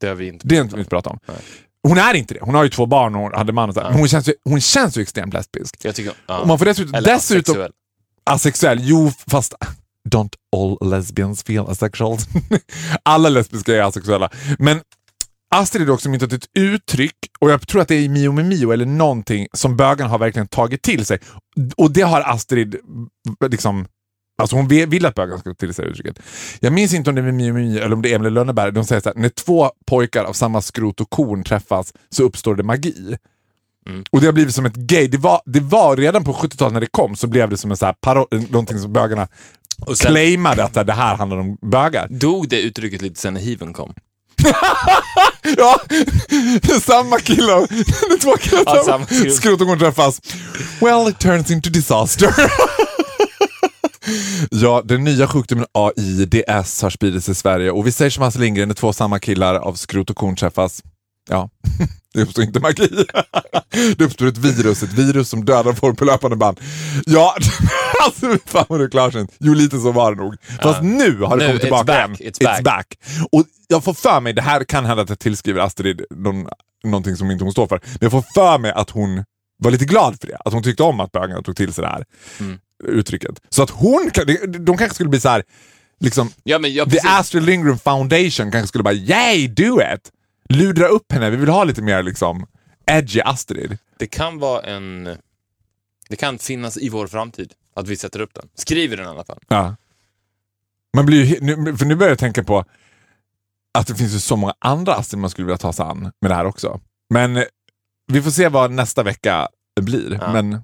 Speaker 3: Det har vi inte.
Speaker 2: Det är inte vi inte pratat om.
Speaker 3: Nej.
Speaker 2: Hon är inte det. Hon har ju två barn och hon hade man och så här.
Speaker 3: Ja.
Speaker 2: Men hon känns, ju, hon känns ju extremt lesbisk.
Speaker 3: Jag tycker, ja.
Speaker 2: Och man får dessutom,
Speaker 3: Eller
Speaker 2: dessutom
Speaker 3: asexuell.
Speaker 2: asexuell. Jo, fast don't all lesbians feel asexual. Alla lesbiska är asexuella. Men Astrid är också myntat ett uttryck och jag tror att det är i Mio med Mio eller någonting som bögarna har verkligen tagit till sig. Och det har Astrid liksom Alltså hon ve- vill att bögarna ska ta till sig det uttrycket. Jag minns inte om det är med Mio med Mio eller om det är Emil i Lönneberg. De säger så här, när två pojkar av samma skrot och korn träffas så uppstår det magi. Och det har blivit som ett gay. Det var, det var redan på 70-talet när det kom så blev det som en så här paro- någonting som bögarna
Speaker 3: Och sen-
Speaker 2: claimade att så här, det här handlar om bögar.
Speaker 3: Dog det uttrycket lite sen när hiven kom?
Speaker 2: Ja, samma killar. Det är två killar
Speaker 3: Ja,
Speaker 2: som
Speaker 3: samma skrot.
Speaker 2: skrot och korn träffas. Well, it turns into disaster. Ja, den nya sjukdomen AIDS har spridit sig i Sverige och vi säger som Hasse Lindgren, när två samma killar av skrot och korn träffas. Ja, det uppstår inte magi. Det uppstår ett virus, ett virus som dödar folk på löpande band. Ja, alltså fan vad du klarar sig. Jo, lite så var det nog. Fast nu har det
Speaker 3: Nu,
Speaker 2: kommit
Speaker 3: it's
Speaker 2: tillbaka
Speaker 3: back,
Speaker 2: igen.
Speaker 3: it's back.
Speaker 2: Och jag får för mig, det här kan hända att jag tillskriver Astrid någon, någonting som inte hon står för, men jag får för mig att hon var lite glad för det. Att hon tyckte om att bögarna tog till sig det här
Speaker 3: Mm.
Speaker 2: uttrycket. Så att hon, kan- de- de kanske skulle bli så här, liksom,
Speaker 3: Ja, men jag,
Speaker 2: the
Speaker 3: precis.
Speaker 2: Astrid Lindgren Foundation kanske skulle bara, yay, do it! Ludra upp henne, vi vill ha lite mer liksom edgy Astrid.
Speaker 3: Det kan vara en... Det kan finnas i vår framtid att vi sätter upp den. Skriver den i alla fall.
Speaker 2: Ja. Man blir ju, he- nu, för nu börjar jag tänka på att det finns ju så många andra Astrid man skulle vilja ta sig an med det här också. Men eh, vi får se vad nästa vecka blir.
Speaker 3: Ja.
Speaker 2: Men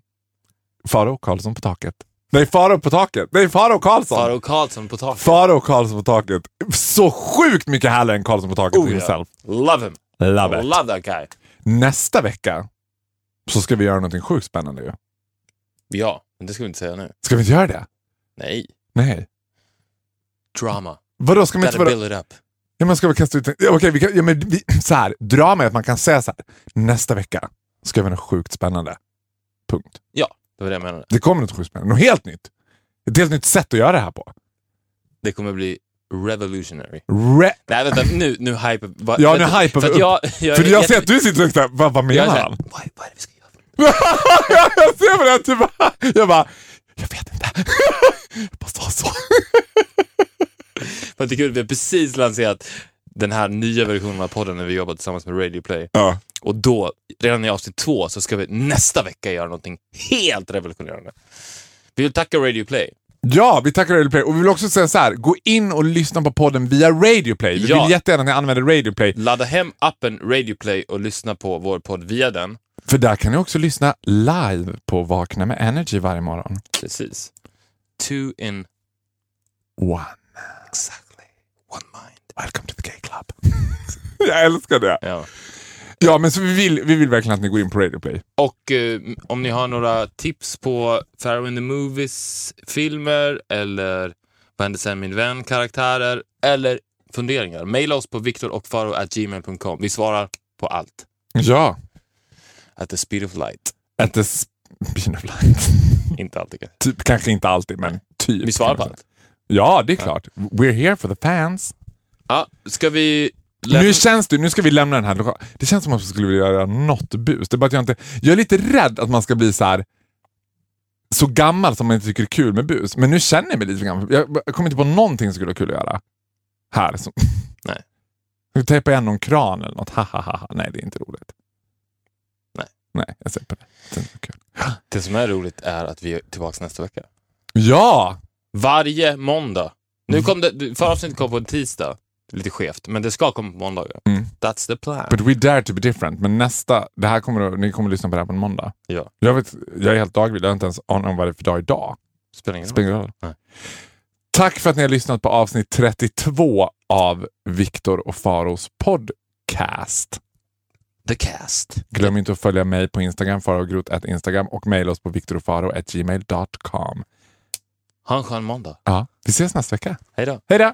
Speaker 2: Faro Karlsson på taket. Nej, Faro på taket. Nej, Faro Karlsson.
Speaker 3: Farao Karlsson på taket.
Speaker 2: Faro och Karlsson på taket. Så sjukt mycket härligare än Karlsson på taket
Speaker 3: Oh, ja.
Speaker 2: himself.
Speaker 3: Love him.
Speaker 2: Love it.
Speaker 3: Love that guy.
Speaker 2: Nästa vecka så ska vi göra någonting sjukt spännande ju.
Speaker 3: Ja, men det ska vi inte säga nu.
Speaker 2: Ska vi inte göra det?
Speaker 3: Nej.
Speaker 2: Nej.
Speaker 3: Drama.
Speaker 2: Vadå, ska man inte
Speaker 3: Gotta
Speaker 2: vara...
Speaker 3: build it up.
Speaker 2: Ja, men ska vi kasta ut en... ja, Okej, vi kan... ja, men vi... så här. Drama är att man kan säga så här. Nästa vecka ska vi göra något sjukt spännande. Punkt.
Speaker 3: Ja, det var det jag menade.
Speaker 2: Det kommer något sjukt spännande. Något helt nytt. Ett helt nytt sätt att göra det här på.
Speaker 3: Det kommer bli revolutionary.
Speaker 2: Re...
Speaker 3: Nej, vänta. Nu, nu hyper... va-
Speaker 2: Ja,
Speaker 3: vänta,
Speaker 2: nu hyper
Speaker 3: för
Speaker 2: vi
Speaker 3: att
Speaker 2: upp.
Speaker 3: jag, jag,
Speaker 2: För
Speaker 3: är
Speaker 2: jag ser
Speaker 3: jätte-
Speaker 2: att du sitter och så här, vad, vad
Speaker 3: Jag är
Speaker 2: menar
Speaker 3: såhär,
Speaker 2: han?
Speaker 3: vad, vad är det vi ska göra?
Speaker 2: jag ser på det, typ, jag bara, jag vet inte. Jag måste ha så.
Speaker 3: För att det är kul, vi har precis lanserat den här nya versionen av podden när vi jobbar tillsammans med Radio Play.
Speaker 2: Ja.
Speaker 3: Och då, redan i avsnitt två, så ska vi nästa vecka göra någonting helt revolutionerande. Vi vill tacka Radio Play.
Speaker 2: Ja, vi tackar Radioplay. Och vi vill också säga så här, gå in och lyssna på podden via Radioplay. Vi
Speaker 3: Ja.
Speaker 2: vill jättegärna att ni använder Radioplay,
Speaker 3: Ladda hem appen Radio Play och lyssna på vår podd via den.
Speaker 2: för där kan ni också lyssna live på Vakna med Energy varje morgon.
Speaker 3: Precis. Two in
Speaker 2: One.
Speaker 3: exactly one mind.
Speaker 2: Welcome to the gay club. Jag älskar det.
Speaker 3: Ja.
Speaker 2: Ja, men så vi vill, vi vill verkligen att ni går in på Radioplay.
Speaker 3: Och eh, om ni har några tips på Pharaoh in the Movies-filmer eller Vad hände sen min vän-karaktärer eller funderingar, mejla oss på viktorochfaro.gmail.com. Vi svarar på allt.
Speaker 2: Ja.
Speaker 3: At the speed of light.
Speaker 2: At the speed of light.
Speaker 3: Inte alltid kanske.
Speaker 2: typ, kanske inte alltid, men typ.
Speaker 3: Vi svarar
Speaker 2: kan
Speaker 3: på
Speaker 2: man säga.
Speaker 3: allt.
Speaker 2: Ja, det är klart. We're here for the fans.
Speaker 3: Ja, ska vi... lämna-
Speaker 2: Nu känns det, nu ska vi lämna den här lokalen. Det känns som att vi skulle vilja göra något bus. Det är bara att jag inte... Jag är lite rädd att man ska bli så här så gammal som man inte tycker är kul med bus. Men nu känner jag mig lite gammal. Jag jag kommer inte på någonting som skulle vara kul att göra. Här. Som...
Speaker 3: Nej.
Speaker 2: Jag tejpa igen någon kran eller något. Ha, ha, ha, ha. Nej, det är inte roligt.
Speaker 3: Nej.
Speaker 2: Nej, jag ser på det. det är inte kul.
Speaker 3: Det som är roligt är att vi är tillbaka nästa vecka.
Speaker 2: Ja!
Speaker 3: Varje måndag.
Speaker 2: Mm.
Speaker 3: Nu kom det, förra avsnittet kom på en tisdag. Lite skevt, men det ska komma på måndagar.
Speaker 2: Mm.
Speaker 3: That's the plan.
Speaker 2: But we dare to be different. Men nästa, det här kommer att, ni kommer att lyssna på det här på en måndag.
Speaker 3: Ja.
Speaker 2: Jag, vet, jag är helt dagvild, jag har inte ens aning om vad det är för dag idag.
Speaker 3: Spelar ingen roll.
Speaker 2: Spelar ingen roll.
Speaker 3: Nej.
Speaker 2: Tack för att ni har lyssnat på avsnitt 32 av Viktor och Faros podcast.
Speaker 3: The cast.
Speaker 2: Glöm inte att följa mig på Instagram, farogroth Instagram och mejla oss på viktorofaro.gmail.com.
Speaker 3: Ha en skön måndag.
Speaker 2: Ja, vi ses nästa vecka.
Speaker 3: Hej då.
Speaker 2: Hej då!